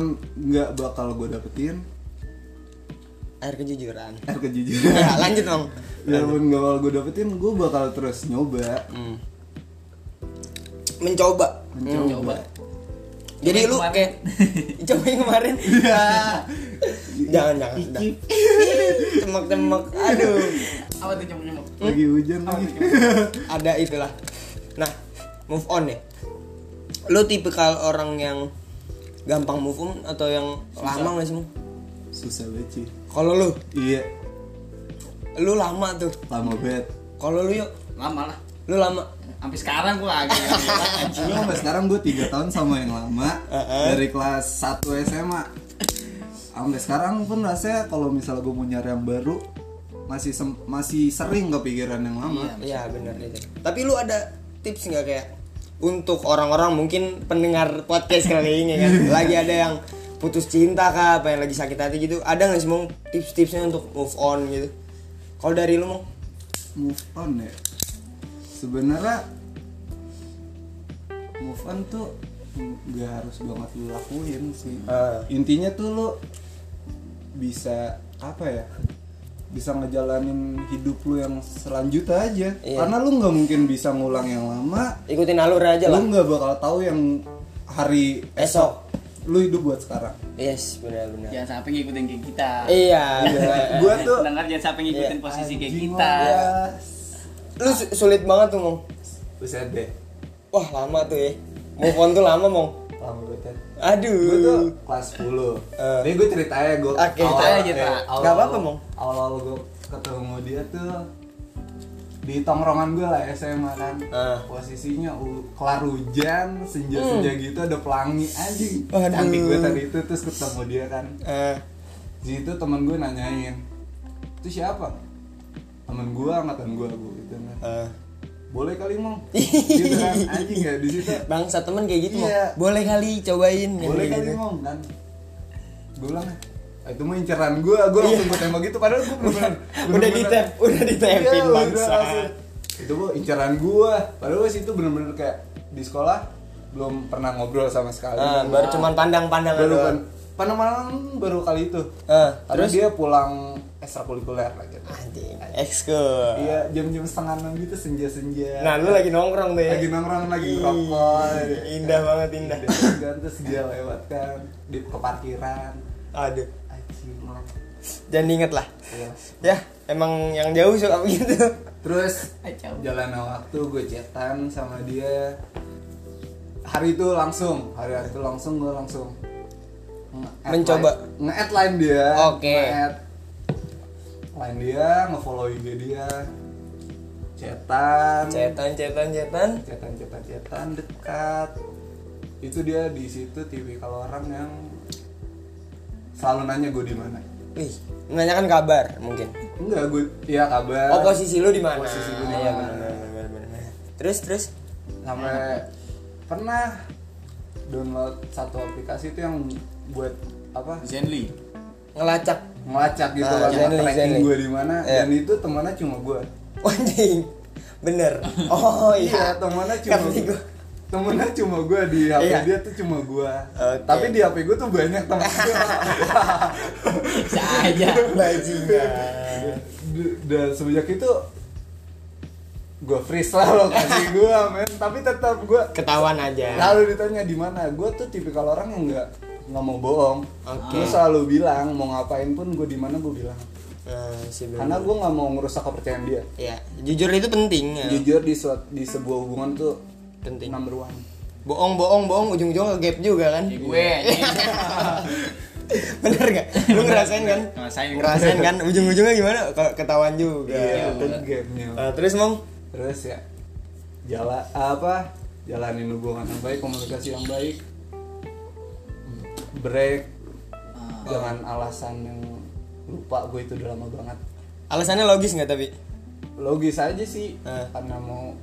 Speaker 2: nggak bakal gue dapetin
Speaker 1: air kejujuran
Speaker 2: air kejujuran
Speaker 1: ya lanjut dong
Speaker 2: walaupun nggak bakal gue dapetin gue bakal terus nyoba
Speaker 1: Hmm. mencoba
Speaker 3: Coba.
Speaker 1: jadi
Speaker 3: Cobain
Speaker 1: lu
Speaker 3: kemarin.
Speaker 1: kayak cobain kemarin Iya. jangan jangan jangan. temek temek aduh
Speaker 3: Apa tuh nyamuk nyamuk?
Speaker 2: lagi
Speaker 1: Hmm.
Speaker 2: hujan lagi
Speaker 1: ada itulah nah move on ya lu tipikal orang yang gampang move on atau yang lama nggak sih Mu?
Speaker 2: susah banget sih
Speaker 1: kalau lu
Speaker 2: iya
Speaker 1: lu lama tuh
Speaker 2: lama banget
Speaker 1: kalau lu yuk
Speaker 3: Lama lah.
Speaker 1: lu lama
Speaker 3: Sampai sekarang gua agak
Speaker 1: Eh.
Speaker 2: Cuma sampai sekarang gue 3 tahun sama yang lama Dari kelas 1 SMA Sampai sekarang pun rasanya kalau misalnya gue mau nyari yang baru Masih sem- masih sering kepikiran yang lama
Speaker 1: Iya benar itu. Tapi lu ada tips nggak kayak untuk orang-orang mungkin pendengar podcast kali ini kan lagi ada yang putus cinta kah apa yang lagi sakit hati gitu ada nggak sih Mong, tips-tipsnya untuk move on gitu kalau dari lu Mong?
Speaker 2: Move on ya Sebenarnya Move on tuh nggak harus banget lu lakuin sih
Speaker 1: Ah.
Speaker 2: Intinya tuh lu bisa apa ya bisa ngejalanin hidup lu yang selanjutnya aja
Speaker 1: Iya.
Speaker 2: karena lu nggak mungkin bisa ngulang yang lama
Speaker 1: ikutin alur aja
Speaker 2: lu
Speaker 1: lah
Speaker 2: nggak bakal tahu yang hari
Speaker 1: esok
Speaker 2: lu hidup buat sekarang
Speaker 1: yes benar-benar
Speaker 3: Jangan sampai ngikutin kayak kita.
Speaker 1: iya benar.
Speaker 2: Gua tuh
Speaker 3: Dengar jangan sampai ngikutin
Speaker 1: Iya. ya.
Speaker 3: posisi kayak
Speaker 2: anjing
Speaker 3: kita.
Speaker 2: lah.
Speaker 1: lu su- sulit banget tuh mong
Speaker 2: buset deh
Speaker 1: wah lama tuh ya move on tuh lama mong
Speaker 2: lama banget
Speaker 1: aduh
Speaker 2: gue tuh kelas 10
Speaker 1: Eh.
Speaker 2: Ini gue ceritanya gue
Speaker 1: Oke,
Speaker 3: ceritain aja, Pak.
Speaker 1: Nggak apa-apa, Mong.
Speaker 2: Awal-awal gue ketemu dia tuh Di tongkrongan gue lah SMA kan
Speaker 1: Eh.
Speaker 2: Posisinya u- kelar hujan,
Speaker 1: Hmm.
Speaker 2: senja-senja gitu ada pelangi Anjing,
Speaker 1: Aduh.
Speaker 2: cantik gue tadi itu Terus ketemu dia kan
Speaker 1: Eh,
Speaker 2: Di situ temen gue nanyain Itu siapa? Temen gue, angkatan gue gue gitu kan
Speaker 1: eh.
Speaker 2: Boleh kali mau Gitu kan, anjing ya di situ
Speaker 1: bangsa temen kayak gitu
Speaker 2: Iya.
Speaker 1: Mong. boleh kali cobain
Speaker 2: boleh
Speaker 1: Gitu.
Speaker 2: kali ngomong kan gue bilang "Ah, itu mah inceran gue gue langsung gue tembak gitu padahal gue bener
Speaker 1: Iya. udah di tap udah di tapin bangsa
Speaker 2: Iya, itu bu inceran gue padahal gue situ bener-bener kayak di sekolah belum pernah ngobrol sama sekali
Speaker 1: Ah, baru cuman pandang-pandangan
Speaker 2: baru
Speaker 1: doang
Speaker 2: kan pandang-pandang baru kali itu
Speaker 1: Ah,
Speaker 2: terus dia pulang ekstrakurikuler lah gitu
Speaker 1: anjing ekskul
Speaker 2: iya jam-jam setengah enam gitu senja-senja
Speaker 1: nah lu lagi nongkrong tuh ya
Speaker 2: lagi nongkrong lagi
Speaker 1: Ih,
Speaker 2: ngerokok
Speaker 1: indah banget indah
Speaker 2: dan terus dia lewat kan di ke parkiran
Speaker 1: aduh
Speaker 2: Anjing, orang.
Speaker 1: jangan diinget lah
Speaker 2: Iya.
Speaker 1: ya emang yang jauh suka begitu
Speaker 2: terus
Speaker 3: Kacau.
Speaker 2: jalan waktu gue chatan sama dia hari itu langsung hari itu langsung gue langsung nge-add
Speaker 1: Mencoba.
Speaker 2: line- nge-add line dia
Speaker 1: Oke.
Speaker 2: nge-add line dia nge-follow IG dia chatan
Speaker 1: cetan cetan cetan
Speaker 2: chatan chatan chatan dekat itu dia di situ tipikal orang yang selalu nanya gue di mana
Speaker 1: wih menanyakan kabar mungkin
Speaker 2: enggak gue ya kabar
Speaker 1: oh posisi lu di mana
Speaker 2: Posisi gua di
Speaker 1: Iya,
Speaker 2: mana.
Speaker 1: benar, benar, benar, benar. terus terus
Speaker 2: sampai pernah download satu aplikasi itu yang buat apa
Speaker 3: Zenly.
Speaker 1: ngelacak
Speaker 2: ngelacak gitu
Speaker 1: Ah,
Speaker 2: kan
Speaker 1: Zenly,
Speaker 2: tracking
Speaker 1: Zenly.
Speaker 2: gue di mana
Speaker 1: Iya.
Speaker 2: dan itu temannya cuma gue
Speaker 1: anjing bener oh
Speaker 2: Ya,
Speaker 1: iya
Speaker 2: temannya cuma
Speaker 1: Ngerti gua.
Speaker 2: temennya cuma gue di HP
Speaker 1: Iya.
Speaker 2: dia tuh cuma gue
Speaker 1: Oke.
Speaker 2: tapi di HP gue tuh banyak teman
Speaker 3: Bisa aja.
Speaker 1: bajingan
Speaker 2: D- dan semenjak itu gue freeze lah lokasi gue men tapi tetap gue
Speaker 1: ketahuan aja
Speaker 2: lalu ditanya di mana gue tuh tipikal orang yang nggak nggak mau bohong
Speaker 1: Oke.
Speaker 2: gue selalu bilang mau ngapain pun gue di mana gue bilang
Speaker 1: Hmm. Nah, si Bel-
Speaker 2: karena gue nggak mau ngerusak kepercayaan dia
Speaker 1: ya jujur itu penting ya.
Speaker 2: jujur di suat, di sebuah hubungan tuh
Speaker 1: Penting.
Speaker 2: number one
Speaker 1: Bohong bohong bohong ujung-ujungnya gap juga kan.
Speaker 2: Iya,
Speaker 3: Di gue.
Speaker 1: Bener gak? Lu ngerasain kan?
Speaker 3: Ngerasain.
Speaker 1: Ngerasain kan? Ujung-ujungnya gimana? Ke- Ketahuan juga.
Speaker 2: itu Iya, game-nya
Speaker 1: Eh, terus mong
Speaker 2: terus ya jala apa jalanin hubungan yang baik komunikasi yang baik break
Speaker 1: Ah.
Speaker 2: jangan alasan yang lupa gue itu udah lama banget
Speaker 1: alasannya logis nggak tapi?
Speaker 2: logis aja sih
Speaker 1: Eh.
Speaker 2: karena mau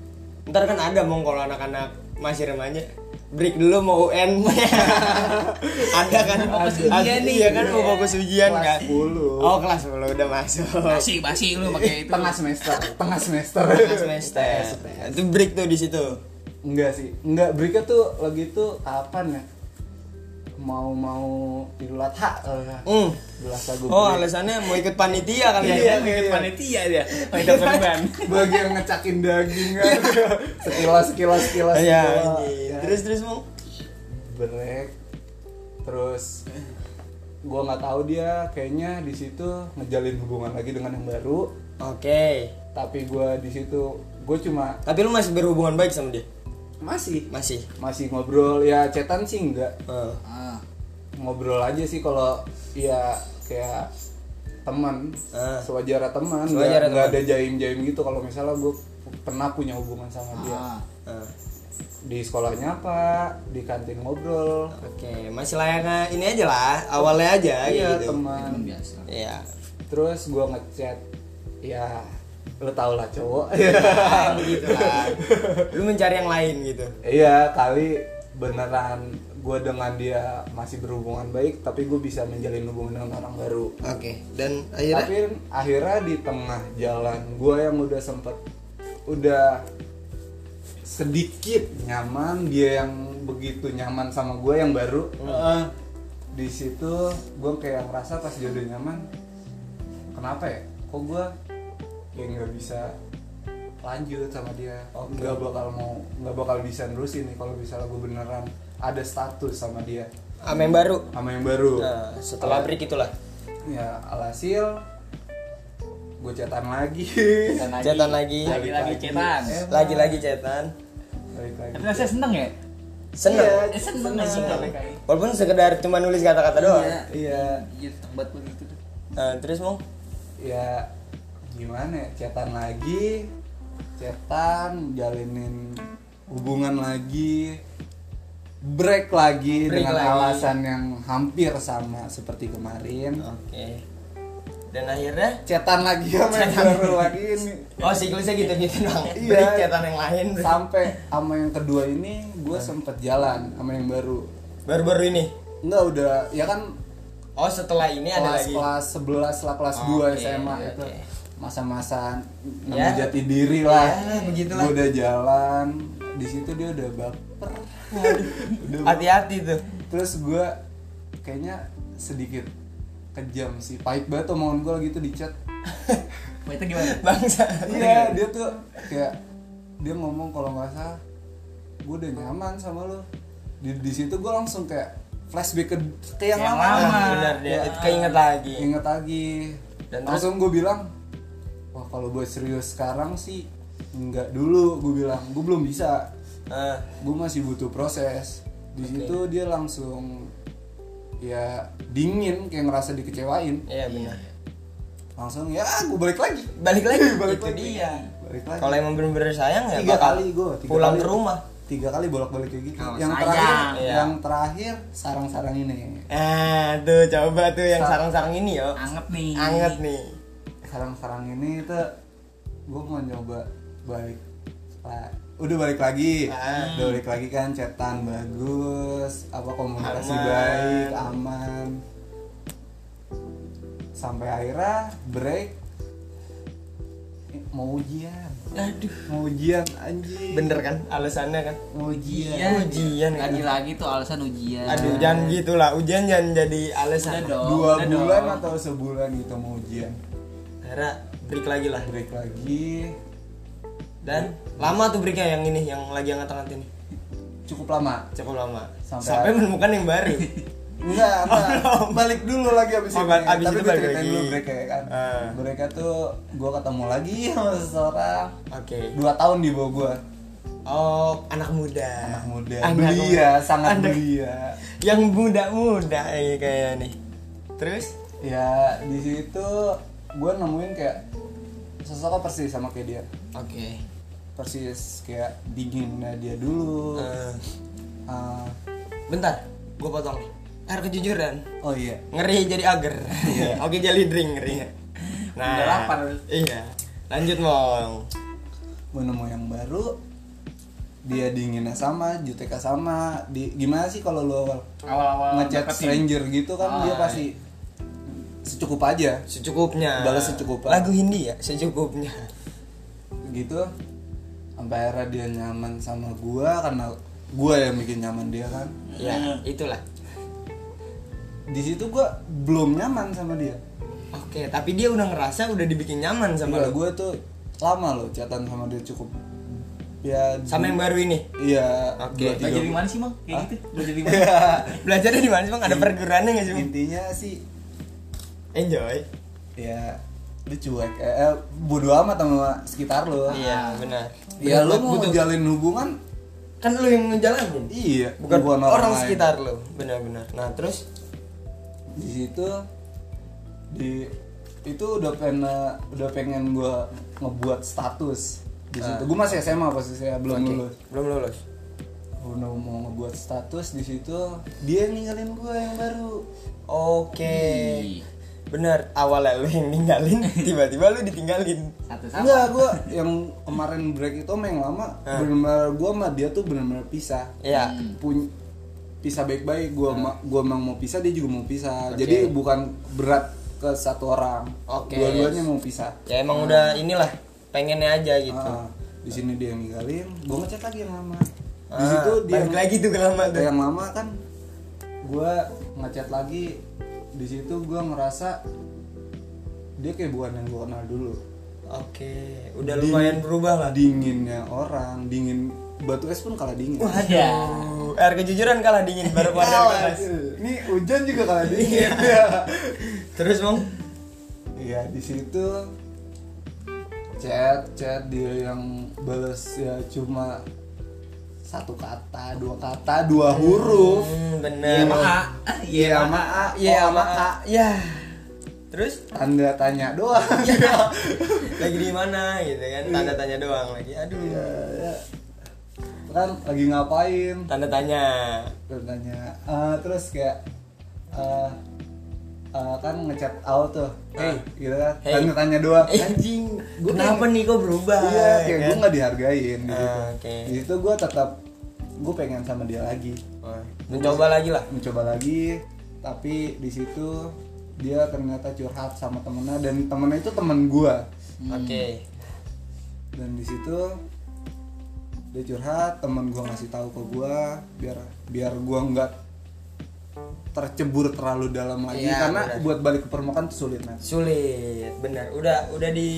Speaker 1: Ntar kan ada mong kalau anak-anak masih remaja break dulu mau UN ada kan
Speaker 2: Fokus
Speaker 3: ujian nih.
Speaker 1: iya kan mau fokus ujian
Speaker 2: Kelas
Speaker 1: kan
Speaker 2: 10.
Speaker 1: oh kelas 10 udah masuk
Speaker 3: Basi, basi lu pakai itu.
Speaker 2: tengah semester tengah semester Eh,
Speaker 1: Kelas semester itu break tuh di situ
Speaker 2: enggak sih enggak breaknya tuh lagi tuh kapan ya mau mau idul adha eh,
Speaker 1: Hmm.
Speaker 2: idul adha gue
Speaker 1: oh
Speaker 2: break.
Speaker 1: alasannya mau ikut panitia kali
Speaker 2: Iya,
Speaker 1: ya Iya.
Speaker 2: iya.
Speaker 3: panitia dia. Panitia korban.
Speaker 2: bagi yang ngecakin daging kan sekilas sekilas sekilas
Speaker 1: Iya,
Speaker 2: sekilas.
Speaker 1: anjing.
Speaker 2: Ya.
Speaker 1: terus terus mong
Speaker 2: break terus gua nggak tahu dia kayaknya di situ ngejalin hubungan lagi dengan yang baru
Speaker 1: oke
Speaker 2: tapi gua di situ gue cuma
Speaker 1: tapi lu masih berhubungan baik sama dia
Speaker 2: masih
Speaker 1: masih
Speaker 2: masih ngobrol ya cetan sih enggak
Speaker 1: Eh,
Speaker 3: Ah,
Speaker 2: ngobrol aja sih kalau ya kayak teman
Speaker 1: Ah.
Speaker 2: sewajarnya teman
Speaker 1: Sewajarnya
Speaker 2: nggak nggak
Speaker 1: teman.
Speaker 2: ada jaim jaim gitu kalau misalnya gue pernah punya hubungan sama dia
Speaker 3: ah.
Speaker 1: eh.
Speaker 2: di sekolahnya apa di kantin ngobrol
Speaker 1: Oke, masih layak eh, ini aja lah, awalnya aja
Speaker 2: iya
Speaker 1: gitu.
Speaker 2: teman
Speaker 3: Kan biasa.
Speaker 1: Iya.
Speaker 2: terus gue ngechat ya lo tau lah cowok
Speaker 1: Ah, begitu lah. Lu mencari yang lain gitu.
Speaker 2: iya kali beneran gue dengan dia masih berhubungan baik tapi gue bisa menjalin hubungan dengan orang baru
Speaker 1: Oke, dan
Speaker 2: tapi akhirnya di tengah jalan gue yang udah sempet udah sedikit nyaman dia yang begitu nyaman sama gue yang baru eh,
Speaker 1: Heeh.
Speaker 2: di situ gue kayak ngerasa pas jodoh nyaman kenapa ya kok gue kayak nggak bisa lanjut sama dia
Speaker 1: Oke.
Speaker 2: nggak bakal mau nggak bakal bisa nerusin nih kalau misalnya gue beneran ada status sama dia
Speaker 1: Sama yang baru.
Speaker 2: sama yang baru
Speaker 1: Nah, setelah break itulah.
Speaker 2: ya alhasil gue cetan lagi
Speaker 3: Dan lagi-
Speaker 1: Cetan lagi.
Speaker 3: Lagi-lagi cetan.
Speaker 1: Lagi-lagi cetan.
Speaker 2: balik
Speaker 3: Tapi
Speaker 2: lagi
Speaker 3: rasanya seneng ya?
Speaker 1: Seneng.
Speaker 2: Iya.
Speaker 3: Eh, seneng anjing kali kali.
Speaker 1: Walaupun sekedar cuma nulis kata-kata doang.
Speaker 3: Iya.
Speaker 2: iya
Speaker 3: Iya, tempat begitu tuh.
Speaker 1: Nah, terus mau
Speaker 2: ya gimana ya cetan lagi cetan jalinin hubungan lagi break lagi
Speaker 1: Break
Speaker 2: dengan
Speaker 1: lagi.
Speaker 2: alasan yang hampir sama seperti kemarin
Speaker 1: Oke. Dan akhirnya
Speaker 2: cetan lagi sama yang baru lagi ini
Speaker 1: Oh, siklusnya gitu-gitu doang.
Speaker 2: Iya.
Speaker 1: Break cetan yang lain.
Speaker 2: sampai sama yang kedua ini gue sempet jalan sama yang baru
Speaker 1: Baru-baru ini.
Speaker 2: enggak udah ya kan
Speaker 1: Oh, setelah ini ada
Speaker 2: kelas
Speaker 1: lagi.
Speaker 2: kelas 11 lah kelas
Speaker 1: Oh,
Speaker 2: 2
Speaker 1: oke,
Speaker 2: SMA
Speaker 1: oke,
Speaker 2: itu
Speaker 1: oke.
Speaker 2: masa-masa nemu
Speaker 1: Ya.
Speaker 2: jati diri lah
Speaker 1: Ya, begitulah.
Speaker 2: Gua udah jalan di situ dia udah baper Udah baper.
Speaker 1: Hati-hati tuh.
Speaker 2: terus gue kayaknya sedikit kejam sih pahit banget omongan gue gitu di chat
Speaker 3: Wah, itu gimana?
Speaker 1: Bangsa.
Speaker 2: iya dia tuh kayak dia ngomong kalau nggak salah gue udah nyaman sama lo di, di situ gue langsung kayak flashback ke, ke yang,
Speaker 3: Yang
Speaker 2: lama,
Speaker 3: lama.
Speaker 1: benar dia
Speaker 2: Ya.
Speaker 1: itu keinget lagi
Speaker 2: inget lagi
Speaker 1: Dan
Speaker 2: dan langsung gue bilang wah kalau gue serius sekarang sih nggak dulu gue bilang gue belum bisa
Speaker 1: Ah,
Speaker 2: gue masih butuh proses di situ dia langsung ya dingin kayak ngerasa dikecewain
Speaker 1: iya benar
Speaker 2: langsung ya gue balik lagi
Speaker 1: balik lagi
Speaker 2: Balik
Speaker 1: itu
Speaker 2: lagi.
Speaker 1: dia
Speaker 2: balik lagi
Speaker 1: kalau emang bener-bener sayang ya
Speaker 2: tiga
Speaker 1: bakal
Speaker 2: kali gue tiga
Speaker 1: pulang
Speaker 2: kali,
Speaker 1: ke rumah
Speaker 2: tiga kali bolak balik kayak gitu
Speaker 3: Kalau
Speaker 2: yang
Speaker 3: sayang,
Speaker 2: terakhir
Speaker 1: iya.
Speaker 2: yang terakhir sarang-sarang ini
Speaker 1: ah tuh coba tuh yang
Speaker 2: Sa-
Speaker 1: sarang-sarang ini yo
Speaker 3: Anget nih.
Speaker 1: anget nih
Speaker 2: sarang-sarang ini tuh gue mau nyoba balik lah udah balik lagi
Speaker 1: Ah.
Speaker 2: udah balik lagi kan cetan bagus apa komunikasi
Speaker 1: Aman.
Speaker 2: baik aman sampai akhirnya break Eh, mau ujian
Speaker 1: aduh
Speaker 2: mau ujian anjing
Speaker 1: bener kan alasannya kan
Speaker 2: mau ujian
Speaker 3: Iya.
Speaker 1: Ujian, kan?
Speaker 3: Lagi-lagi tuh alasan ujian.
Speaker 1: aduh jangan
Speaker 2: Nah.
Speaker 1: gitulah ujian jangan jadi alasan
Speaker 3: Udah dong.
Speaker 2: dua
Speaker 3: udah
Speaker 2: bulan
Speaker 3: dong.
Speaker 2: atau sebulan gitu mau ujian
Speaker 1: karena break lagi lah
Speaker 2: break lagi
Speaker 1: dan lama tuh breaknya yang ini yang lagi yang ngata-ngatin ini
Speaker 2: cukup lama
Speaker 1: cukup lama
Speaker 2: Sampai-
Speaker 1: sampai menemukan yang baru
Speaker 2: Enggak, enggak. balik dulu lagi abis
Speaker 1: Oh,
Speaker 2: itu.
Speaker 1: ba- abis
Speaker 2: Tapi
Speaker 1: itu
Speaker 2: gue
Speaker 1: balik
Speaker 2: ceritain
Speaker 1: lagi.
Speaker 2: dulu break ya kan.
Speaker 1: Ah.
Speaker 2: Break tuh gue ketemu lagi sama seseorang
Speaker 1: Oke.
Speaker 2: dua tahun di bawah gue.
Speaker 1: Oh, anak muda.
Speaker 2: Anak muda,
Speaker 1: Anak
Speaker 2: belia,
Speaker 1: muda.
Speaker 2: sangat
Speaker 1: Anak-
Speaker 2: belia.
Speaker 1: Yang muda-muda ya kayak nih. Terus?
Speaker 2: Ya di situ gue nemuin kayak sosoknya persis sama kayak dia.
Speaker 1: Oke.
Speaker 2: Persis kayak dinginnya dia dulu.
Speaker 1: Eh,
Speaker 2: Ah,
Speaker 1: bentar, gue potong nih. Air kejujuran.
Speaker 2: oh iya.
Speaker 1: Ngeri jadi ager. Oke, jadi drink ngerinya. Nah,
Speaker 3: Udah lapar.
Speaker 1: Iya. Lanjut, Mong.
Speaker 2: gue nemu yang baru dia dinginnya sama, juteknya sama. Di, gimana sih kalau lu awal
Speaker 3: Awal-awal
Speaker 2: ngechat
Speaker 3: deketin.
Speaker 2: stranger gitu kan dia
Speaker 3: Ah,
Speaker 2: pasti
Speaker 1: iya.
Speaker 2: secukup aja
Speaker 1: Secukupnya.
Speaker 2: Balas secukupnya.
Speaker 1: Lagu Hindi ya, secukupnya.
Speaker 2: gitu. Sampai akhirnya dia nyaman sama gua karena gua yang bikin nyaman dia kan.
Speaker 1: Ya, itulah.
Speaker 2: Di situ gua belum nyaman sama dia.
Speaker 1: Oke, tapi dia udah ngerasa udah dibikin nyaman sama
Speaker 2: Sama
Speaker 1: lagu
Speaker 2: gua tuh lama loh chatan sama dia cukup ya
Speaker 1: Sama yang
Speaker 2: du-
Speaker 1: baru ini.
Speaker 2: Iya,
Speaker 1: Oke.
Speaker 2: dua, tiga
Speaker 3: Belajar di mana sih, Mang? Kayak
Speaker 2: Hah?
Speaker 3: gitu. Belajar di mana?
Speaker 2: Iya.
Speaker 1: Belajarnya di mana sih, Bang? Ada perguruannya nggak sih, Bang?
Speaker 2: Intinya sih
Speaker 1: Enjoy.
Speaker 2: ya lu cuek eh, eh, bodo amat sama sekitar lu
Speaker 1: Iya, benar.
Speaker 2: ya lu mau
Speaker 1: butuh-
Speaker 2: jalin hubungan
Speaker 1: kan lu yang ngejalanin.
Speaker 2: iya
Speaker 1: Bukan, orang,
Speaker 2: lain.
Speaker 1: sekitar lu. Benar-benar. Nah, terus
Speaker 2: di situ di itu udah pengen udah pengen gua ngebuat status di situ gua masih SMA posisi belum
Speaker 1: Ah. Oke,
Speaker 2: lulus
Speaker 1: Belum lulus.
Speaker 2: Gua udah mau ngebuat status di situ dia ninggalin gua yang baru
Speaker 1: Oke.
Speaker 3: Ih.
Speaker 1: Benar, awalnya lu yang ninggalin, tiba-tiba lu ditinggalin. Iya.
Speaker 3: Satu sama.
Speaker 2: Enggak, gua yang kemarin break itu sama yang lama
Speaker 1: Hah?
Speaker 2: bener-bener gua sama dia tuh bener-bener pisah
Speaker 1: Iya.
Speaker 2: punya pisah baik-baik gue gue emang mau pisah dia juga mau pisah
Speaker 1: Oke.
Speaker 2: jadi bukan berat ke satu orang
Speaker 1: Oke.
Speaker 2: dua-duanya mau pisah
Speaker 1: Ya emang udah inilah pengennya aja gitu.
Speaker 2: Ah, di sini dia yang ninggalin gue ngechat lagi yang lama di
Speaker 1: Ah,
Speaker 2: situ dia
Speaker 1: balik lagi tuh ke lama tuh.
Speaker 2: yang lama kan gue ngechat lagi di situ gue ngerasa dia kayak bukan yang gue kenal dulu
Speaker 1: Oke, udah
Speaker 2: Dingin-
Speaker 1: lumayan berubah lah.
Speaker 2: dinginnya orang dingin batu es pun kalah dingin
Speaker 1: Waduh,
Speaker 3: Iya.
Speaker 1: Oh, air kejujuran kalah dingin baru
Speaker 2: Kalah,
Speaker 1: padam keras.
Speaker 2: ini hujan juga kalah
Speaker 1: Iya.
Speaker 2: dingin
Speaker 1: Terus bang,
Speaker 2: Iya di situ chat chat dia yang balas ya cuma satu kata dua kata dua huruf
Speaker 1: hmm, bener.
Speaker 3: Iya, Mak. Iya,
Speaker 2: Iya
Speaker 3: Mak.
Speaker 2: sama A,
Speaker 1: Iya,
Speaker 2: O sama
Speaker 1: sama
Speaker 2: K.
Speaker 1: Ya. Terus
Speaker 2: tanda tanya doang
Speaker 1: Iya. lagi di mana gitu kan? Tanda tanya doang lagi. Aduh.
Speaker 2: Iya, iya. kan lagi ngapain
Speaker 1: Tanda tanya.
Speaker 2: terus tanya eh, terus kayak eh, eh, kan ngechat out tuh hey gitu kan
Speaker 1: Hey.
Speaker 2: tanda tanya doang
Speaker 1: Eh, Anjing, gua kenapa nih kok berubah?
Speaker 2: iya kayak
Speaker 1: ya
Speaker 2: gue
Speaker 1: kan?
Speaker 2: nggak dihargain di
Speaker 1: Ah,
Speaker 2: situ
Speaker 1: oke.
Speaker 2: di situ gue tetap gue pengen sama dia lagi
Speaker 1: Wah, Mencoba lagi lah.
Speaker 2: mencoba lagi tapi di situ dia ternyata curhat sama temennya dan temennya itu temen gue
Speaker 1: Oke.
Speaker 2: dan di situ dia curhat temen gue ngasih tahu ke gue biar biar gue nggak tercebur terlalu dalam lagi
Speaker 1: Iya,
Speaker 2: karena
Speaker 1: benar.
Speaker 2: buat balik ke permukaan tuh sulit Nat.
Speaker 1: Sulit, bener. Udah udah di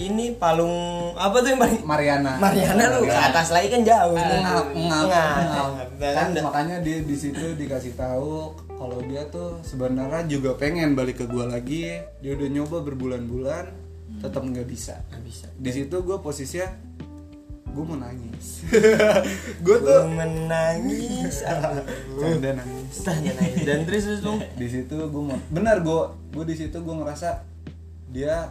Speaker 1: ini palung apa tuh yang paling
Speaker 2: Mariana
Speaker 1: Mariana lu ke atas lagi kan jauh. tuh.
Speaker 2: ngap ngap
Speaker 1: Ngap.
Speaker 2: ngap.
Speaker 1: Dan
Speaker 2: kan
Speaker 1: udah-
Speaker 2: makanya dia di situ dikasih tahu kalau dia tuh sebenarnya juga pengen balik ke gua lagi dia udah nyoba berbulan-bulan tetap nggak bisa
Speaker 1: Nggak bisa.
Speaker 2: di situ gua posisinya gua mau nangis gua tuh
Speaker 1: Gua menangis. aduh.
Speaker 2: udah nangis
Speaker 1: Tanya nangis. Dan terus terus Bang.
Speaker 2: di situ gua mau benar gua gua di situ gua ngerasa dia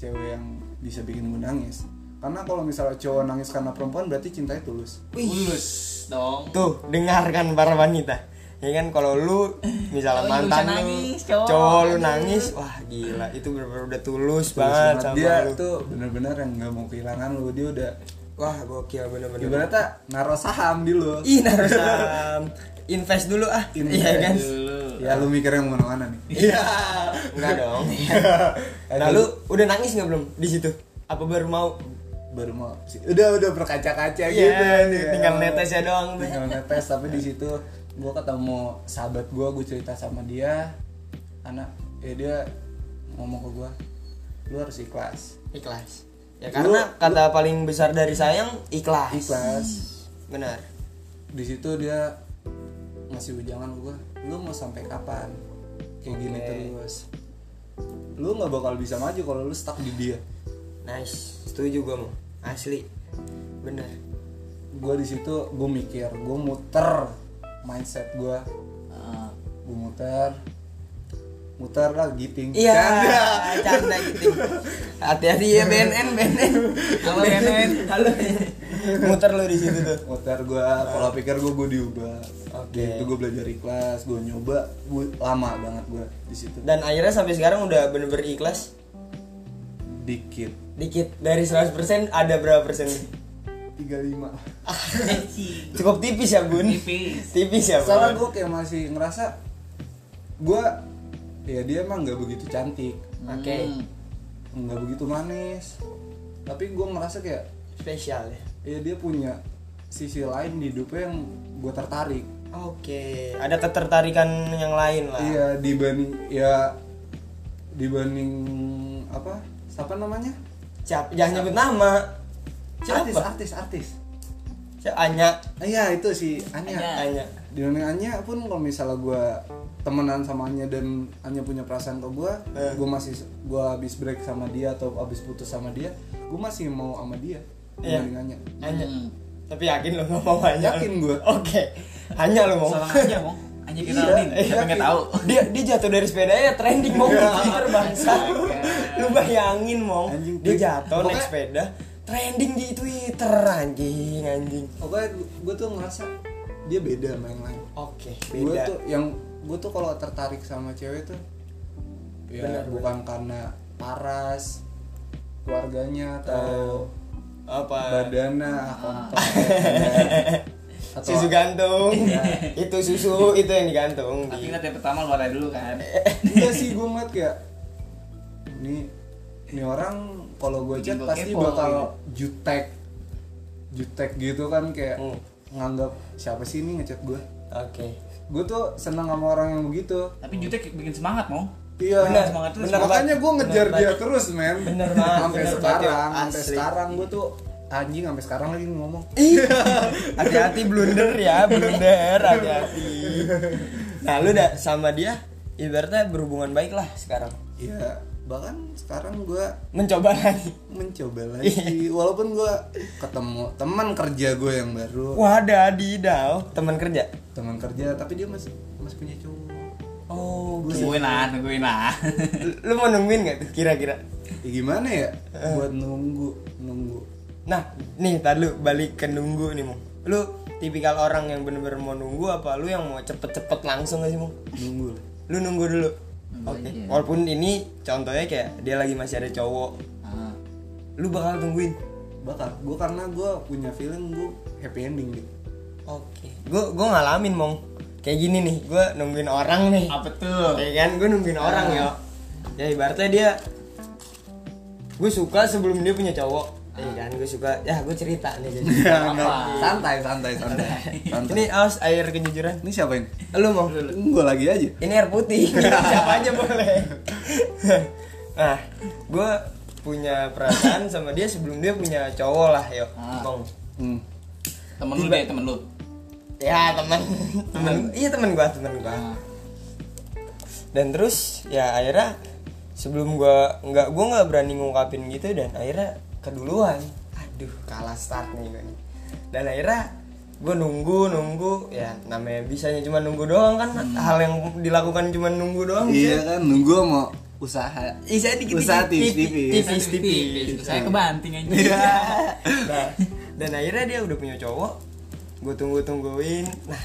Speaker 2: cewek yang bisa bikin gua nangis karena kalau misalnya cowok nangis karena perempuan berarti cintanya tulus
Speaker 1: Wih.
Speaker 3: Dong.
Speaker 1: Tuh, dengarkan para wanita. Ya kan kalau lu misalnya
Speaker 3: Kalau
Speaker 1: mantan
Speaker 3: lu bisa
Speaker 1: lu,
Speaker 3: nangis,
Speaker 1: cowok,
Speaker 3: cowok.
Speaker 1: lu nangis, wah gila itu bener-bener udah tulus
Speaker 2: Tulus
Speaker 1: banget
Speaker 2: banget.
Speaker 1: sama
Speaker 2: dia
Speaker 1: lu.
Speaker 2: tuh bener-bener yang nggak mau kehilangan lu dia udah
Speaker 1: Wah, gokil bener-bener.
Speaker 2: ibaratnya naruh saham di lu
Speaker 1: Ih, harus um, invest dulu ah.
Speaker 2: Invest
Speaker 1: Iya kan?
Speaker 3: Dulu.
Speaker 2: ya lu mikir yang mana-mana nih
Speaker 1: Iya. Enggak dong. nah, lu udah nangis nggak belum di situ? Apa baru mau?
Speaker 2: baru mau sih. udah udah berkaca-kaca
Speaker 1: Iya,
Speaker 2: gitu
Speaker 1: tinggal netes ya doang.
Speaker 2: tinggal netes tapi di situ gua ketemu sahabat gua gua cerita sama dia anak ya dia ngomong ke gua lu harus ikhlas
Speaker 1: Ikhlas. Ya karena kata paling besar dari sayang ikhlas.
Speaker 2: ikhlas
Speaker 1: Benar.
Speaker 2: di situ dia ngasih ujangan ke gua "Lu lu mau sampai kapan kayak gini terus lu nggak bakal bisa maju kalau lu stuck di dia
Speaker 1: nice setuju gue mau asli bener
Speaker 2: gue di situ gue mikir gue muter mindset gue gue muter muter lah giting
Speaker 1: iya
Speaker 2: Canda.
Speaker 1: canda gitu hati-hati ya BNN BNN
Speaker 3: Halo, BNN.
Speaker 1: halo muter lu di situ tuh
Speaker 2: muter gue pola pikir gue gue diubah
Speaker 1: Oke.
Speaker 2: itu gue belajar ikhlas gue nyoba gue lama banget gue di situ
Speaker 1: dan akhirnya sampai sekarang udah bener-bener ikhlas
Speaker 2: dikit
Speaker 1: dikit dari 100% ada berapa persen
Speaker 2: 35
Speaker 1: cukup tipis ya bun
Speaker 3: Tipis.
Speaker 1: tipis ya bun
Speaker 2: soalnya gue kayak masih ngerasa gue ya dia emang nggak begitu cantik
Speaker 1: oke
Speaker 3: Hmm.
Speaker 2: nggak begitu manis tapi gue merasa kayak
Speaker 1: spesial ya
Speaker 2: ya dia punya sisi lain di hidupnya yang gue tertarik
Speaker 1: oke ada ketertarikan yang lain lah
Speaker 2: iya dibanding ya dibanding apa siapa namanya
Speaker 1: siapa jangan nyebut nama
Speaker 2: artis ah.
Speaker 1: siapa
Speaker 2: artis artis
Speaker 1: siapa Anya
Speaker 2: Ah, iya itu si Anya
Speaker 1: Anya
Speaker 2: dibanding Anya pun kalau misalnya gue temenan sama Anya dan Anya punya perasaan ke gue
Speaker 1: Eh.
Speaker 2: gue masih gue habis break sama dia atau habis putus sama dia gue masih mau sama dia
Speaker 1: Iya.
Speaker 2: dibanding Anya
Speaker 1: Anya
Speaker 3: Hmm.
Speaker 1: tapi yakin lo nggak mau Anya
Speaker 2: Yakin
Speaker 1: lo?
Speaker 2: gua.
Speaker 1: oke Anya lo mau
Speaker 3: Salah aja, Bong. Anjing kita
Speaker 2: Iya,
Speaker 3: Aldin, siapa yang nggak
Speaker 2: iya.
Speaker 3: tahu.
Speaker 1: dia dia jatuh dari sepeda ya trending mau di Twitter bangsa lu bayangin mau
Speaker 2: Anjing,
Speaker 1: dia
Speaker 2: Twitter.
Speaker 1: jatuh naik
Speaker 2: Pokoknya-
Speaker 1: sepeda trending di Twitter anjing anjing
Speaker 2: pokoknya gue tuh ngerasa dia beda sama yang lain
Speaker 1: oke
Speaker 2: gue
Speaker 1: beda
Speaker 2: tuh yang gue tuh kalau tertarik sama cewek tuh ya
Speaker 1: Benar,
Speaker 2: bukan karena paras
Speaker 1: Oh,
Speaker 2: keluarganya atau
Speaker 1: apa
Speaker 2: badana
Speaker 1: Ah.
Speaker 2: kontol, atau
Speaker 1: susu gantung itu susu itu yang digantung
Speaker 3: Tapi
Speaker 1: di
Speaker 3: ingat yang pertama luar dulu kan.
Speaker 2: eh, enggak sih gue ngeliat kayak ini ini orang kalau gue chat
Speaker 3: Bikin gua
Speaker 2: pasti
Speaker 3: kepo
Speaker 2: bakal jutek jutek gitu kan kayak
Speaker 1: Hmm.
Speaker 2: nganggap siapa sih ini ngechat gue
Speaker 1: oke
Speaker 2: gue tuh seneng sama orang yang begitu
Speaker 3: Tapi jutek bikin semangat, Bong.
Speaker 2: Iya.
Speaker 1: Benar,
Speaker 3: semangat terus.
Speaker 2: Benar, Makanya
Speaker 1: Pak.
Speaker 2: gue ngejar
Speaker 1: Benar,
Speaker 2: dia
Speaker 1: Pak.
Speaker 2: terus, men.
Speaker 1: Benar, Pak.
Speaker 2: Sampai
Speaker 1: Benar, Pak.
Speaker 2: sekarang, sampai
Speaker 1: Asli.
Speaker 2: sekarang gue tuh anjing sampai sekarang lagi ngomong.
Speaker 1: Ih, hati-hati blunder ya blunder hati-hati nah lu udah sama dia ibaratnya berhubungan baik lah sekarang
Speaker 2: Iya, bahkan sekarang gue
Speaker 1: mencoba lagi
Speaker 2: mencoba lagi walaupun gue ketemu teman kerja gue yang baru
Speaker 1: wadah didau teman kerja
Speaker 2: teman kerja tapi dia masih masih punya cowok
Speaker 1: oh
Speaker 3: Nungguin lah, nungguin lah.
Speaker 1: lu mau nungguin gak tuh kira-kira
Speaker 2: ya gimana ya buat nunggu nunggu
Speaker 1: nah nih tadi lu balik ke nunggu nih mung lu tipikal orang yang bener-bener mau nunggu apa lu yang mau cepet-cepet langsung gak sih mung
Speaker 2: nunggu lah.
Speaker 1: lu nunggu dulu
Speaker 3: Nunggu
Speaker 1: oke
Speaker 3: aja.
Speaker 1: walaupun ini contohnya kayak dia lagi masih ada cowok
Speaker 3: Ah.
Speaker 1: lu bakal tungguin
Speaker 2: bakal gue karena gue punya feeling gue happy ending gitu
Speaker 1: oke gua gua ngalamin mong kayak gini nih gua nungguin orang nih
Speaker 3: Apa tuh?
Speaker 1: ya kan gue nungguin orang ya ya ibaratnya dia gue suka sebelum dia punya cowok ya kan gue suka ya gue cerita nih jadi
Speaker 2: santai santai santai santai
Speaker 1: ini aus air kejujuran
Speaker 2: ini siapa ini
Speaker 1: lu mau
Speaker 2: gue lagi aja
Speaker 1: ini air putih siapa aja boleh nah gue punya perasaan sama dia sebelum dia punya cowok lah yo
Speaker 3: Ah.
Speaker 1: Bong.
Speaker 2: Hmm.
Speaker 3: Temen lu deh, temen lu.
Speaker 1: ya temen Ah. temen iya temen gue temen gue dan terus ya akhirnya sebelum gua nggak gua nggak berani ngungkapin gitu dan akhirnya keduluan aduh kalah start nih gua nih. dan akhirnya gua nunggu nunggu ya namanya bisanya cuma nunggu doang kan hal yang dilakukan cuma nunggu doang Iya,
Speaker 2: Iya kan, nunggu sama usaha.
Speaker 1: bisa dikit
Speaker 2: Usaha
Speaker 1: tipis
Speaker 2: tipis-tipis.
Speaker 1: tipis Iya. tipis
Speaker 3: Saya kebanting aja.
Speaker 1: Nah, dan akhirnya dia udah punya cowok gue tunggu tungguin nah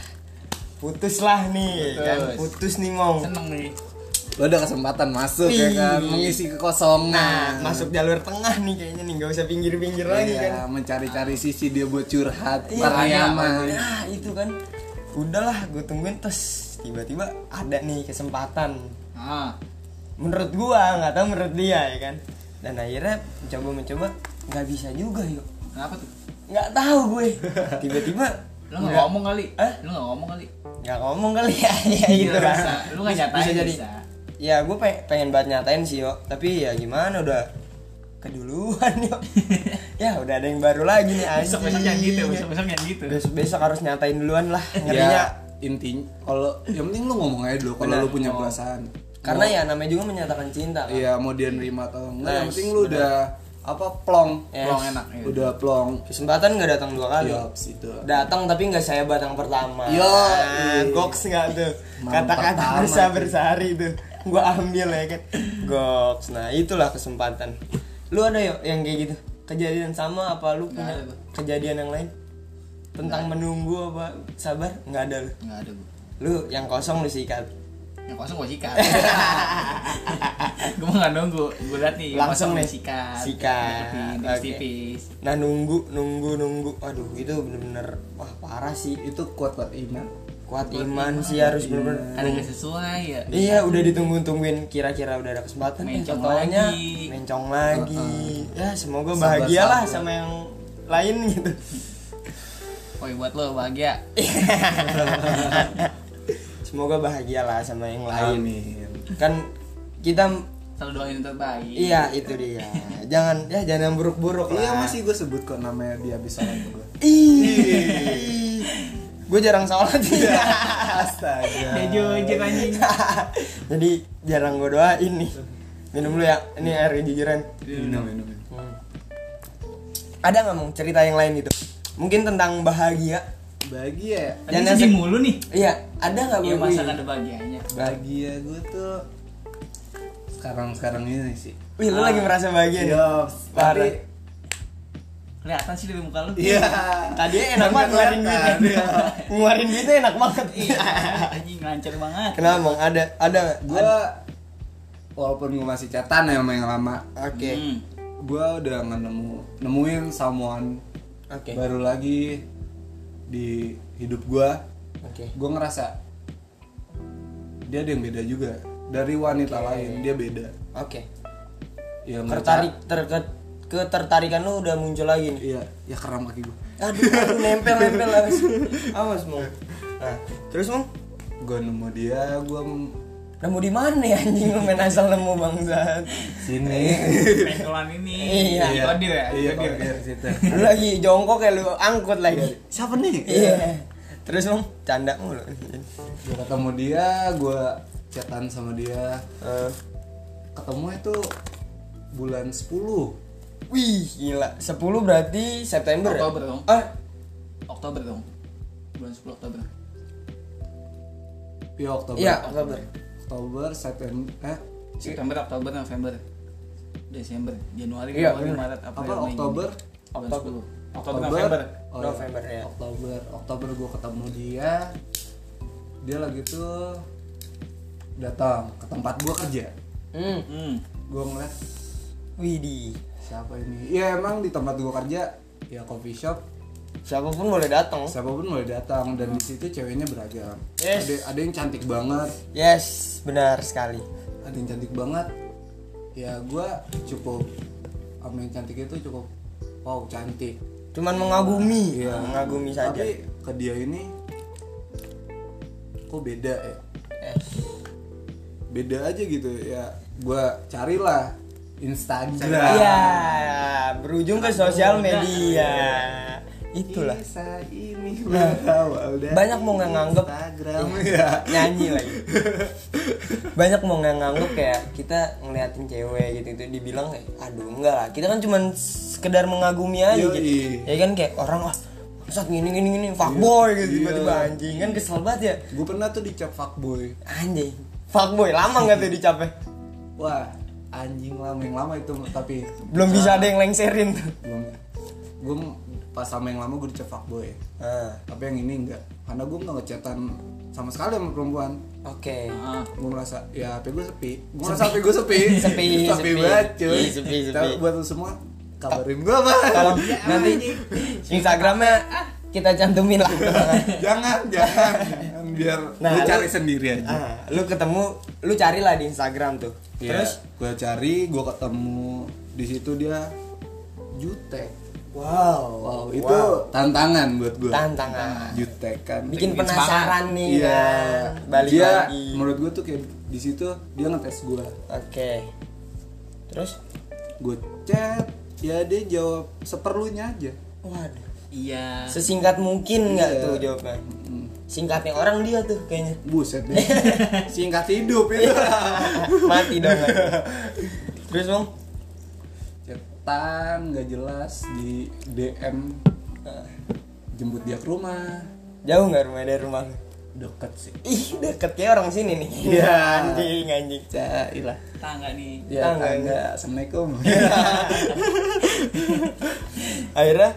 Speaker 1: putuslah nih
Speaker 3: Putus.
Speaker 1: kan putus nih mong
Speaker 3: Seneng nih.
Speaker 2: Lo ada kesempatan masuk ya kan,
Speaker 1: Ih.
Speaker 2: mengisi kekosongan.
Speaker 1: Nah, masuk jalur tengah nih kayaknya nih, nggak usah pinggir-pinggir lagi kan.
Speaker 2: Iya, mencari-cari sisi dia buat curhat,
Speaker 1: Iya,
Speaker 2: para
Speaker 1: iya,
Speaker 2: nyaman.
Speaker 1: Nah, itu kan. Udahlah, gue tungguin terus tiba-tiba ada nih kesempatan.
Speaker 3: Ah.
Speaker 1: Menurut gua, nggak tahu menurut dia ya kan. Dan akhirnya coba mencoba nggak bisa juga yuk.
Speaker 3: Kenapa tuh?
Speaker 1: Nggak tahu gue. Tiba-tiba
Speaker 3: Lu
Speaker 1: udah-
Speaker 3: nggak ngomong kali?
Speaker 1: Eh?
Speaker 3: Lu nggak ngomong kali?
Speaker 1: nggak ngomong kali ya, ya gitu
Speaker 3: Iya,
Speaker 1: kan.
Speaker 3: bisa. Lu nggak
Speaker 1: Bisa-
Speaker 3: nyatain,
Speaker 1: bisa jadi.
Speaker 3: bisa.
Speaker 1: Ya gue pengen banget nyatain sih yo, tapi ya gimana udah keduluan yo. ya udah ada yang baru lagi nih anjing.
Speaker 3: ya, Besok besok jangan gitu, besok besok jangan gitu.
Speaker 2: Iya.
Speaker 1: Besok besok harus nyatain duluan lah. Ngerinya
Speaker 2: intinya kalau yang penting lu ngomong aja dulu kalau
Speaker 1: Benar.
Speaker 2: lu punya perasaan
Speaker 1: Karena ya namanya juga menyatakan cinta. Kan?
Speaker 2: iya mau dia nerima atau enggak yang
Speaker 1: Nice,
Speaker 2: penting lu udah apa plong
Speaker 1: Yes.
Speaker 3: Plong enak, iya.
Speaker 2: udah plong
Speaker 1: Kesempatan nggak datang dua kali.
Speaker 2: yops itu
Speaker 1: Datang tapi nggak saya batang pertama.
Speaker 2: Yo,
Speaker 1: Nah,
Speaker 2: iya.
Speaker 1: goks nggak tuh.
Speaker 2: Malam pertama.
Speaker 1: Kata-kata bersa bersari tuh. Gua ambil ya kan. Goks. Nah, itulah kesempatan. Lu ada yuk yang kayak gitu? Kejadian sama apa lu punya
Speaker 3: ada, Bang.
Speaker 1: kejadian yang lain? Tentang menunggu apa sabar? Nggak ada lu.
Speaker 3: nggak ada gue
Speaker 1: Lu yang kosong lu sikat.
Speaker 3: yang kosong gue sikat gue mau nggak nunggu gue liat nih yang
Speaker 1: Langsung nih.
Speaker 3: Iya, kosong gue sikat Iya,
Speaker 1: Sikat.
Speaker 3: Deketin,
Speaker 1: Oke.
Speaker 3: tipis-tipis
Speaker 1: Nah, nunggu nunggu nunggu. Aduh, itu bener-bener wah parah sih.
Speaker 2: itu kuat kuat iman
Speaker 1: Kuat iman sih harus bener-bener
Speaker 3: ada nggak sesuai ya
Speaker 1: Iya udah ditunggu-tungguin kira-kira udah ada kesempatan eh,
Speaker 3: Mencong
Speaker 1: contohnya
Speaker 3: lagi.
Speaker 1: mencong lagi ya semoga
Speaker 2: Sabar-sabar.
Speaker 1: bahagialah sama yang lain gitu
Speaker 3: Woi buat lo bahagia
Speaker 1: semoga bahagialah sama yang lain
Speaker 2: amin
Speaker 1: kan kita
Speaker 3: selalu doain yang terbaik
Speaker 1: iya itu dia jangan ya jangan yang buruk-buruk
Speaker 2: iya
Speaker 1: lah
Speaker 2: masih gue sebut kok namanya dia habis sholat gue
Speaker 1: ih gue jarang sholat ya.
Speaker 2: astaga
Speaker 3: dia jujur anjing
Speaker 1: jadi jarang gue doain nih minum dulu ya ini air kejujuran Iya.
Speaker 2: minum minum minum.
Speaker 1: Hmm. ada nggak mau cerita yang lain gitu mungkin tentang bahagia
Speaker 2: bahagia ya?
Speaker 3: Tadi
Speaker 1: Jangan
Speaker 3: sedih
Speaker 1: asik.
Speaker 3: mulu nih
Speaker 1: Iya, ada nggak
Speaker 3: Iya
Speaker 1: Bang?
Speaker 3: masa nggak ada bahagianya
Speaker 2: bahagia gue tuh sekarang sekarang ini sih
Speaker 1: Wih, lu lagi merasa bahagia nih.
Speaker 2: Yops,
Speaker 1: Parah.
Speaker 2: Iya tapi
Speaker 3: kelihatan sih dari muka lu
Speaker 2: Iya.
Speaker 1: Tadi enak banget ngeluarin duitnya.
Speaker 2: Kelihatan, iya.
Speaker 1: ngeluarin duitnya enak banget.
Speaker 3: anjing lancar banget
Speaker 1: Iya. Kenapa, Mong? Ada ada nggak?
Speaker 2: Gue walaupun gue masih catatan ya sama yang lama,
Speaker 1: Oke.
Speaker 3: Hmm.
Speaker 2: gue udah nggak nemu nemuin someone
Speaker 1: Oke.
Speaker 2: baru lagi di hidup gue.
Speaker 1: Oke.
Speaker 2: Gue ngerasa dia ada yang beda juga dari wanita lain dia beda.
Speaker 1: Oke.
Speaker 2: Ya, menurut-
Speaker 1: Tertarik ter, ter- ketertarikan lu udah muncul lagi nih.
Speaker 2: Iya, ya keram kaki gue.
Speaker 1: Aduh, aduh nempel-nempel awas. Awas, Mong. Nah, terus, Mong?
Speaker 2: Gue nemu dia, gue
Speaker 1: Nemu di mana ya anjing lu main asal nemu bangsat.
Speaker 2: sini.
Speaker 3: pengkolan ini
Speaker 1: Iya.
Speaker 3: Di kodir ya Di
Speaker 2: Iya,
Speaker 3: kodir.
Speaker 2: kodir situ.
Speaker 1: Lu lagi jongkok kayak lu angkut lagi.
Speaker 2: Siapa nih?
Speaker 1: Iya. Eh. Terus, Mong, canda mulu.
Speaker 2: Gue ketemu dia, gue chatan sama dia.
Speaker 1: Eh,
Speaker 2: ketemu itu bulan 10
Speaker 1: Wih, gila. 10 berarti September
Speaker 3: Oktober
Speaker 1: ya?
Speaker 3: dong.
Speaker 1: Ah,
Speaker 3: Oktober dong bulan 10 Oktober
Speaker 2: ya Oktober
Speaker 1: iya, Oktober.
Speaker 2: Oktober September eh
Speaker 3: September Oktober November Desember Januari
Speaker 1: Iya,
Speaker 3: Februari
Speaker 1: bener.
Speaker 3: Maret April
Speaker 2: Apa,
Speaker 3: Mei, Juni.
Speaker 2: Oktober?
Speaker 3: bulan
Speaker 1: Oktober.
Speaker 3: 10 Oktober November
Speaker 2: oh iya,
Speaker 1: November, ya.
Speaker 2: Oktober Oktober gue ketemu dia dia lagi tuh datang ke tempat gue kerja
Speaker 1: Hmm.
Speaker 3: hmm.
Speaker 2: gue ngeliat
Speaker 1: Widih.
Speaker 2: siapa ini ya emang di tempat gue kerja ya coffee shop
Speaker 1: Siapapun boleh datang.
Speaker 2: siapapun boleh datang dan di situ ceweknya beragam
Speaker 1: Yes.
Speaker 2: ada ada yang cantik banget
Speaker 1: Yes, benar sekali.
Speaker 2: ada yang cantik banget ya gue cukup sama yang cantik itu cukup wow cantik
Speaker 1: Cuman mengagumi,
Speaker 2: Iya.
Speaker 1: mengagumi Hmm, saja.
Speaker 2: tapi ke dia ini kok beda ya
Speaker 1: Yes.
Speaker 2: beda aja gitu ya gue carilah Instagram
Speaker 1: Iya, berujung ke sosial media. Itulah.
Speaker 2: Kisah ini berawal dari
Speaker 1: Banyak mau nggak nganggep. Iya.
Speaker 2: Instagram ya
Speaker 1: Nyanyi lagi. Banyak mau nggak nganggep kayak kita ngeliatin cewek gitu itu dibilang kayak aduh enggak lah. Kita kan cuman sekedar mengagumi aja
Speaker 2: Yoi.
Speaker 1: gitu. Ya kan kayak orang ah Bangsat gini gini gini fuckboy gitu tiba-tiba anjing kan kesel banget ya.
Speaker 2: gue pernah tuh dicap fuckboy
Speaker 1: Anjing. Fuckboy lama nggak tuh dicapek?
Speaker 2: wah anjing lama yang lama itu tapi
Speaker 1: Belum bisa ada yang lengserin tuh.
Speaker 2: belum gue pas sama yang lama gue dicap fuckboy
Speaker 1: Ah,
Speaker 2: tapi yang ini enggak karena gue nggak ngechatan sama sekali sama perempuan
Speaker 1: Oke.
Speaker 3: Ah,
Speaker 2: gue merasa ya HP gue sepi gue merasa HP gue sepi
Speaker 1: Sepi,
Speaker 2: sepi
Speaker 1: sepi.
Speaker 2: banget cuy
Speaker 1: Iya, sepi, sepi.
Speaker 2: Tapi buat lu semua kabarin gue apa
Speaker 1: Kalau nanti Instagramnya kita cantumin lah.
Speaker 2: jangan jangan jangan biar
Speaker 1: Nah,
Speaker 2: lu
Speaker 1: lu-
Speaker 2: cari sendiri aja
Speaker 1: Ah, lu ketemu, lu carilah di Instagram tuh.
Speaker 2: terus gue Iya, cari gue ketemu di situ dia jutek
Speaker 1: Wow.
Speaker 2: wow itu tantangan buat gue
Speaker 1: tantangan.
Speaker 2: jutek kan
Speaker 1: Bikin
Speaker 3: Bikin
Speaker 1: penasaran nih
Speaker 2: Iya,
Speaker 1: kan. Balik
Speaker 2: dia
Speaker 1: lagi.
Speaker 2: menurut gue tuh kayak di situ dia ngetes gue
Speaker 1: Oke. Terus
Speaker 2: gue chat ya dia jawab seperlunya aja
Speaker 1: waduh.
Speaker 3: iya
Speaker 1: Sesingkat mungkin nggak
Speaker 2: Iya.
Speaker 1: tuh jawaban.
Speaker 2: Mm.
Speaker 1: singkatnya orang dia tuh kayaknya
Speaker 2: Buset deh. Singkat hidup itu.
Speaker 1: mati dong kan. terus bang
Speaker 2: Cetan nggak jelas di DM jemput dia ke rumah
Speaker 1: jauh nggak rumah dari rumah lu?
Speaker 2: deket sih
Speaker 1: ih deket kayak orang sini nih
Speaker 2: Iya.
Speaker 1: anjing anjing
Speaker 2: cailah
Speaker 3: tangga nih
Speaker 2: ya
Speaker 1: Tangga.
Speaker 2: tangga assalamualaikum
Speaker 1: akhirnya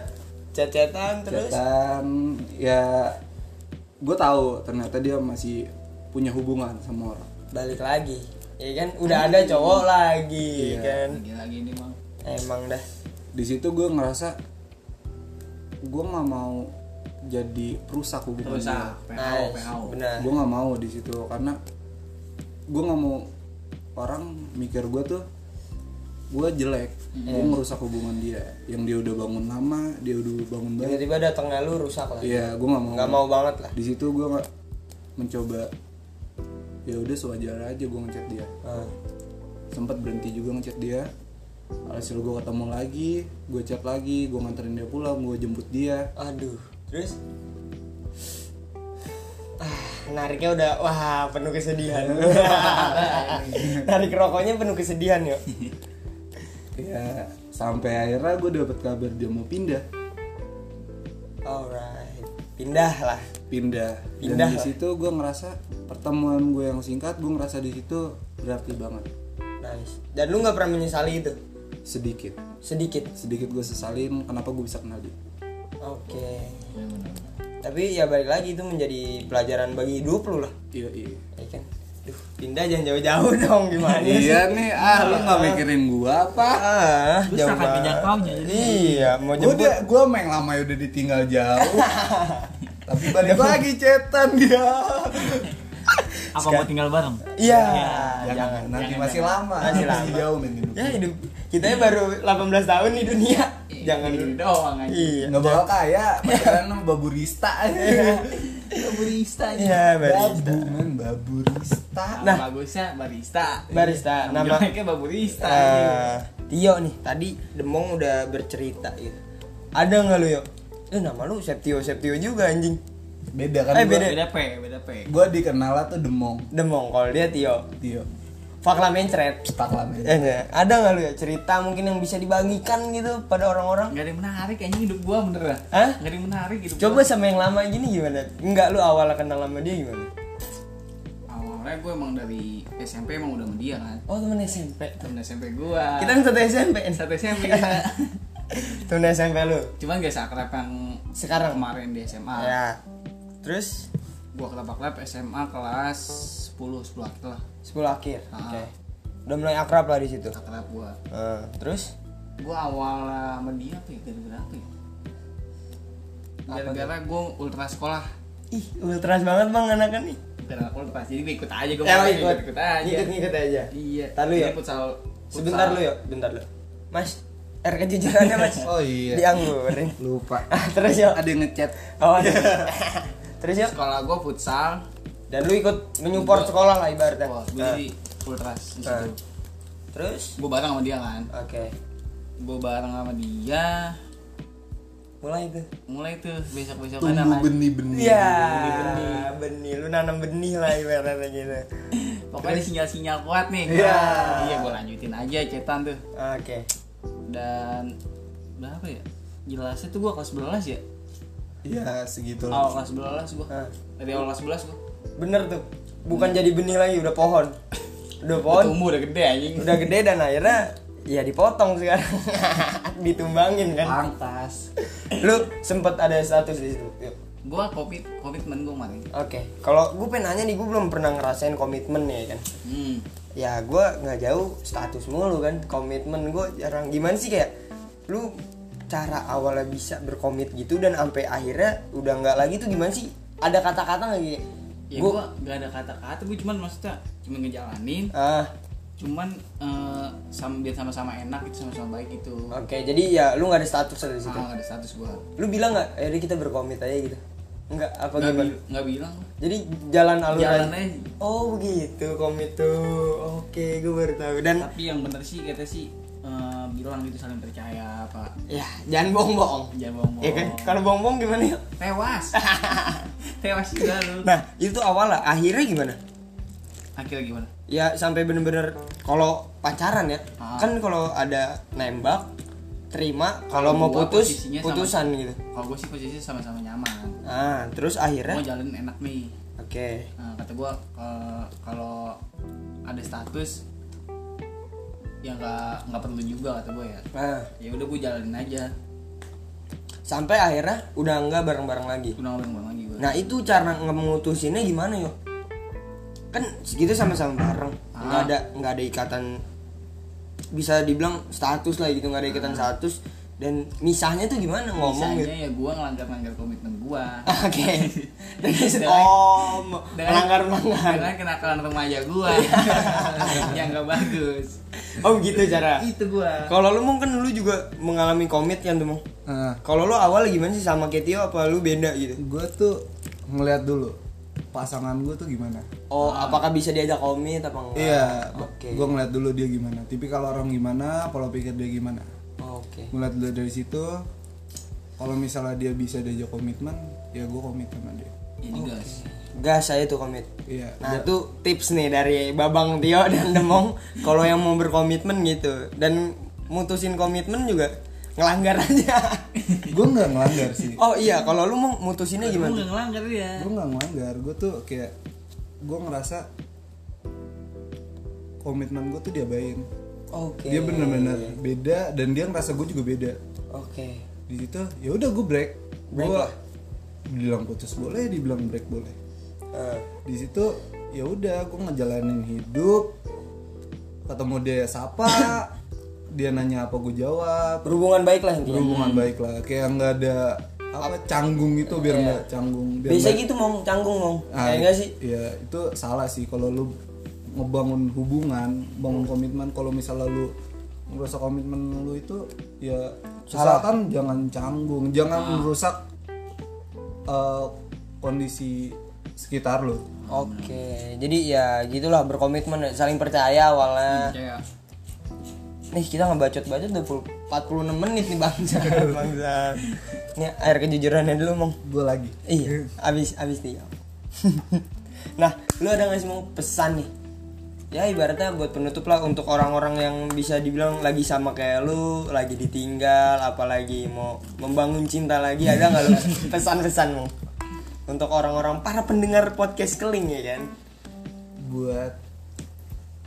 Speaker 1: cecetan terus
Speaker 2: Cetan ya gue tahu ternyata dia masih punya hubungan sama orang
Speaker 1: balik lagi ya kan udah ada cowok lagi
Speaker 2: Iya.
Speaker 1: ya kan
Speaker 3: lagi lagi nih bang
Speaker 1: emang dah
Speaker 2: di situ gue ngerasa gue nggak mau jadi perusak Iya. hubungan
Speaker 3: terus ah
Speaker 2: dia
Speaker 3: PHO
Speaker 1: Nice,
Speaker 3: PHO
Speaker 1: benar
Speaker 2: gue nggak mau di situ karena gue nggak mau orang mikir gue tuh gue jelek gue ngerusak hubungan dia yang dia udah bangun lama dia udah bangun baik
Speaker 1: tiba-tiba datangnya lu rusak lah
Speaker 2: iya gue Iya. nggak mau
Speaker 1: nggak mau banget lah
Speaker 2: di situ gue nggak mencoba ya udah sewajarnya aja gue ngechat dia
Speaker 1: Ah.
Speaker 2: sempat berhenti juga ngechat dia hasil gue ketemu lagi gue chat lagi gue nganterin dia pulang gue jemput dia
Speaker 1: aduh terus ah, nariknya udah wah penuh kesedihan tarik rokoknya penuh kesedihan yuk
Speaker 2: ya sampai akhirnya gue dapet kabar dia mau pindah
Speaker 1: alright pindah lah
Speaker 2: pindah,
Speaker 1: Pindah
Speaker 2: dan di
Speaker 1: lah.
Speaker 2: situ gue ngerasa pertemuan gue yang singkat gue ngerasa di situ berarti banget
Speaker 1: nice dan lu nggak pernah menyesali itu
Speaker 2: sedikit
Speaker 1: sedikit
Speaker 2: sedikit gue sesalin kenapa gue bisa kenal dia
Speaker 1: oke tapi ya balik lagi itu menjadi pelajaran bagi hidup lu lah
Speaker 2: iya iya
Speaker 1: ya kan Duh, pindah jangan jauh-jauh dong gimana sih?
Speaker 2: iya nih ah lu nggak mikirin gue apa
Speaker 1: ah
Speaker 3: Lu
Speaker 1: jauh
Speaker 3: sangat
Speaker 1: banget.
Speaker 3: menjangkaunya, ya, jadi.
Speaker 1: iya mau
Speaker 2: gue
Speaker 1: jemput
Speaker 2: udah gue main lama ya udah ditinggal jauh tapi balik lagi cetan dia
Speaker 4: apa mau tinggal bareng
Speaker 1: iya
Speaker 2: jangan,
Speaker 1: jangan
Speaker 2: nanti masih lama
Speaker 1: Masih lama.
Speaker 2: jauh main hidup
Speaker 1: ya hidup kita baru 18 tahun di dunia
Speaker 2: Iya,
Speaker 1: jangan
Speaker 3: Ini doang aja
Speaker 1: iya
Speaker 2: nggak bakal kaya pacaran sama baburista baburista
Speaker 1: Iya, barista.
Speaker 2: babu men baburista
Speaker 1: Nah.
Speaker 3: nah bagusnya barista
Speaker 1: Barista, nama-
Speaker 3: nama kayak barista iya.
Speaker 1: Eh, Tio nih tadi Demong udah bercerita gitu ada nggak lu yuk eh nama lu Septio Septio juga anjing
Speaker 2: beda kan
Speaker 1: Eh,
Speaker 2: gua-
Speaker 1: beda.
Speaker 3: beda p beda p
Speaker 2: gue dikenalnya tuh demong
Speaker 1: Demong kalau dia Tio
Speaker 2: Tio
Speaker 1: Fakla mencret
Speaker 2: stuck lah men.
Speaker 1: Eh, nggak. ada nggak lu ya cerita mungkin yang bisa dibagikan gitu pada orang-orang
Speaker 3: nggak ada yang menarik kayaknya hidup gua bener dah
Speaker 1: Hah?
Speaker 3: nggak ada yang menarik hidup
Speaker 1: coba sama yang lama gini gimana enggak lu awal kenal sama dia gimana
Speaker 3: gua. awalnya gua emang dari SMP emang udah sama dia kan
Speaker 1: oh temen SMP
Speaker 3: temen SMP gua
Speaker 1: kita kan satu SMP
Speaker 3: satu SMP kita.
Speaker 1: temen SMP lu
Speaker 3: cuman gak seakrab yang
Speaker 1: sekarang
Speaker 3: kemarin di SMA
Speaker 1: ya terus
Speaker 3: gua kelabak-kelab SMA kelas 10 10 akhir lah
Speaker 1: 10 akhir
Speaker 3: Ah.
Speaker 1: oke udah mulai akrab lah di situ
Speaker 3: akrab gua
Speaker 1: Eh, terus
Speaker 3: gua awal sama dia apa ya gara-gara apa ya gara-gara gua ultra sekolah
Speaker 1: ih ultras banget bang anaknya nih
Speaker 3: gara-gara ultra jadi gua ikut aja gua
Speaker 1: Eh,
Speaker 3: main,
Speaker 1: ikut
Speaker 3: ikut aja
Speaker 1: ikut ikut aja
Speaker 3: iya
Speaker 1: Ntar lu ya
Speaker 3: Jadi futsal
Speaker 1: sebentar lu
Speaker 3: futsal.
Speaker 1: ya bentar lu mas air kejujurannya mas
Speaker 2: oh iya
Speaker 1: dianggurin
Speaker 2: lupa
Speaker 1: Ah, terus yuk
Speaker 2: ada yang ngechat
Speaker 1: oh, ada. terus yuk
Speaker 3: sekolah gua futsal
Speaker 1: dan lu ikut menyupport sekolah lah ibaratnya
Speaker 3: wah gua
Speaker 1: Nah,
Speaker 3: jadi ultras di
Speaker 1: Nah.
Speaker 3: situ
Speaker 1: terus
Speaker 3: gua bareng sama dia kan
Speaker 1: oke
Speaker 3: gua bareng sama dia
Speaker 1: mulai tuh
Speaker 3: mulai tuh besok besok kan
Speaker 2: tumbuh benih-benih
Speaker 1: Iya, benih, lu nanam benih lah ibaratnya gitu.
Speaker 3: pokoknya sinyal-sinyal kuat nih
Speaker 1: Iya.
Speaker 3: iya gua lanjutin aja cetan tuh
Speaker 1: Oke.
Speaker 3: dan berapa ya jelasnya tuh gua kelas 11 ya
Speaker 2: iya segitu
Speaker 3: awal kelas 11 gua
Speaker 1: Ah.
Speaker 3: dari awal kelas 11 gua
Speaker 1: Bener tuh, bukan jadi benih lagi, udah pohon, udah pohon,
Speaker 3: tumbuh udah gede anjing
Speaker 1: udah gede dan akhirnya ya dipotong sekarang, ditumbangin kan.
Speaker 2: pantas
Speaker 1: Lu sempet ada status di situ. Yuk.
Speaker 3: gua komit komitmen gua kemarin
Speaker 1: Oke, kalau gue pengen nanya nih, gue belum pernah ngerasain komitmen ya kan.
Speaker 3: hmm.
Speaker 1: ya gue nggak jauh status mulu kan komitmen gue jarang gimana sih kayak lu cara awalnya bisa berkomit gitu dan sampai akhirnya udah nggak lagi tuh gimana sih ada kata-kata nggak gitu
Speaker 3: ya gua, gak ada kata-kata gua cuman maksudnya cuman ngejalanin
Speaker 1: ah
Speaker 3: cuman eh, sama biar sama-sama enak gitu sama-sama baik gitu
Speaker 1: oke jadi ya lu nggak ada status dari situ
Speaker 3: ah, gak ada status gua
Speaker 1: lu bilang nggak akhirnya kita berkomit aja gitu nggak apa
Speaker 3: nggak
Speaker 1: gimana
Speaker 3: bi- nggak bilang gua.
Speaker 1: jadi jalan alur
Speaker 3: jalan
Speaker 1: aja.
Speaker 3: aja
Speaker 1: oh begitu komit tuh oke gue baru tahu dan
Speaker 3: tapi yang bener sih kata sih eh, bilang gitu saling percaya apa
Speaker 1: ya jangan bohong-bohong
Speaker 3: jangan bohong
Speaker 1: ya kan kalau bohong-bohong gimana ya
Speaker 3: tewas tewas juga lu
Speaker 1: Nah itu awal lah Akhirnya gimana?
Speaker 3: akhirnya gimana
Speaker 1: Ya sampai bener-bener Kalau pacaran ya
Speaker 3: Ah.
Speaker 1: Kan kalau ada nembak Terima Kalau mau
Speaker 3: Gua
Speaker 1: putus
Speaker 3: posisinya sama-
Speaker 1: Putusan gitu
Speaker 3: kalau gue sih posisinya sama-sama nyaman
Speaker 1: Nah terus
Speaker 3: mau
Speaker 1: akhirnya
Speaker 3: jalan enak nih
Speaker 1: Oke
Speaker 3: Nah, kata gue kalau ada status ya nggak nggak perlu juga kata gue ya
Speaker 1: Nah
Speaker 3: ya udah gue jalanin aja
Speaker 1: Sampai akhirnya Udah nggak bareng-bareng lagi
Speaker 3: udah ngomong ngomong lagi gue
Speaker 1: Nah itu cara ngemutusinnya gimana yo? Kan segitu sama-sama bareng, nggak ada nggak ada ikatan bisa dibilang status lah gitu nggak ada ikatan status dan misahnya tuh gimana ngomong gitu?
Speaker 3: misalnya ya gue ngelanggar ngelanggar komitmen gue
Speaker 1: Oke, dan
Speaker 3: Dengan-
Speaker 1: oh melanggar melanggar.
Speaker 3: dengan kenakalan remaja gue yang nggak bagus
Speaker 1: Oh gitu cara.
Speaker 3: itu gue
Speaker 1: Kalau lu mungkin lu juga mengalami komit kan tuh Mung?
Speaker 2: Nah,
Speaker 1: Kalau lu awal gimana sih sama Ketio apa lu beda gitu?
Speaker 2: gue tuh ngeliat dulu pasangan gue tuh gimana.
Speaker 1: Oh apakah bisa diajak komit apa enggak?
Speaker 2: Iya,
Speaker 1: Oke.
Speaker 2: gue ngeliat dulu dia gimana. Tipikal orang gimana, pola pikir dia gimana.
Speaker 1: Oke.
Speaker 2: Ngeliat dulu dari situ, kalau misalnya dia bisa diajak komitmen, ya gue komit sama dia.
Speaker 3: ini guys
Speaker 1: Gas saya tuh komit.
Speaker 2: Iya.
Speaker 1: Nah, itu tips nih dari Babang Tio dan Demong kalau yang mau berkomitmen gitu dan mutusin komitmen juga ngelanggar aja.
Speaker 2: gue nggak ngelanggar sih.
Speaker 1: Oh iya, kalau lu mau mutusinnya
Speaker 3: gue
Speaker 1: gimana?
Speaker 3: nggak ngelanggar dia
Speaker 2: gue nggak ngelanggar gue tuh kayak gue ngerasa komitmen gue tuh dia bayin
Speaker 1: Oke.
Speaker 2: dia bener-bener beda dan dia ngerasa gue juga beda
Speaker 1: Oke.
Speaker 2: di situ ya udah gue break
Speaker 1: Break
Speaker 2: gue
Speaker 1: lah.
Speaker 2: dibilang putus boleh dibilang break boleh
Speaker 1: Eh,
Speaker 2: di situ ya udah gue ngejalanin hidup ketemu dia sapa dia nanya apa gue jawab
Speaker 1: berhubungan baik lah intinya.
Speaker 2: berhubungan baik lah kayak nggak ada apa canggung gitu biar nggak canggung biar
Speaker 1: Iya. Biasa
Speaker 2: nggak-
Speaker 1: gitu mau canggung mau.
Speaker 2: Ah,
Speaker 1: Kayak enggak sih?
Speaker 2: Iya, itu salah sih kalau lu ngebangun hubungan, bangun
Speaker 1: Hmm.
Speaker 2: komitmen kalau misalnya lu ngerusak komitmen lu itu ya salah kan jangan canggung, jangan
Speaker 1: Ah.
Speaker 2: merusak eh, kondisi sekitar lu.
Speaker 1: Oke. Jadi ya gitulah berkomitmen saling percaya awalnya.
Speaker 3: kayak
Speaker 1: Nih kita ngebacot-bacot udah pul- 46 menit nih bangsa. bangsa. Nih air kejujurannya dulu, Mong.
Speaker 2: Gue lagi.
Speaker 1: Iya, abis abis nih. nah, lu ada nggak sih mau pesan nih? Ya ibaratnya buat penutup lah untuk orang-orang yang bisa dibilang lagi sama kayak lu, lagi ditinggal, apalagi mau membangun cinta lagi, ada nggak lu pesan-pesan lu? Untuk orang-orang para pendengar podcast keling ya kan?
Speaker 2: Buat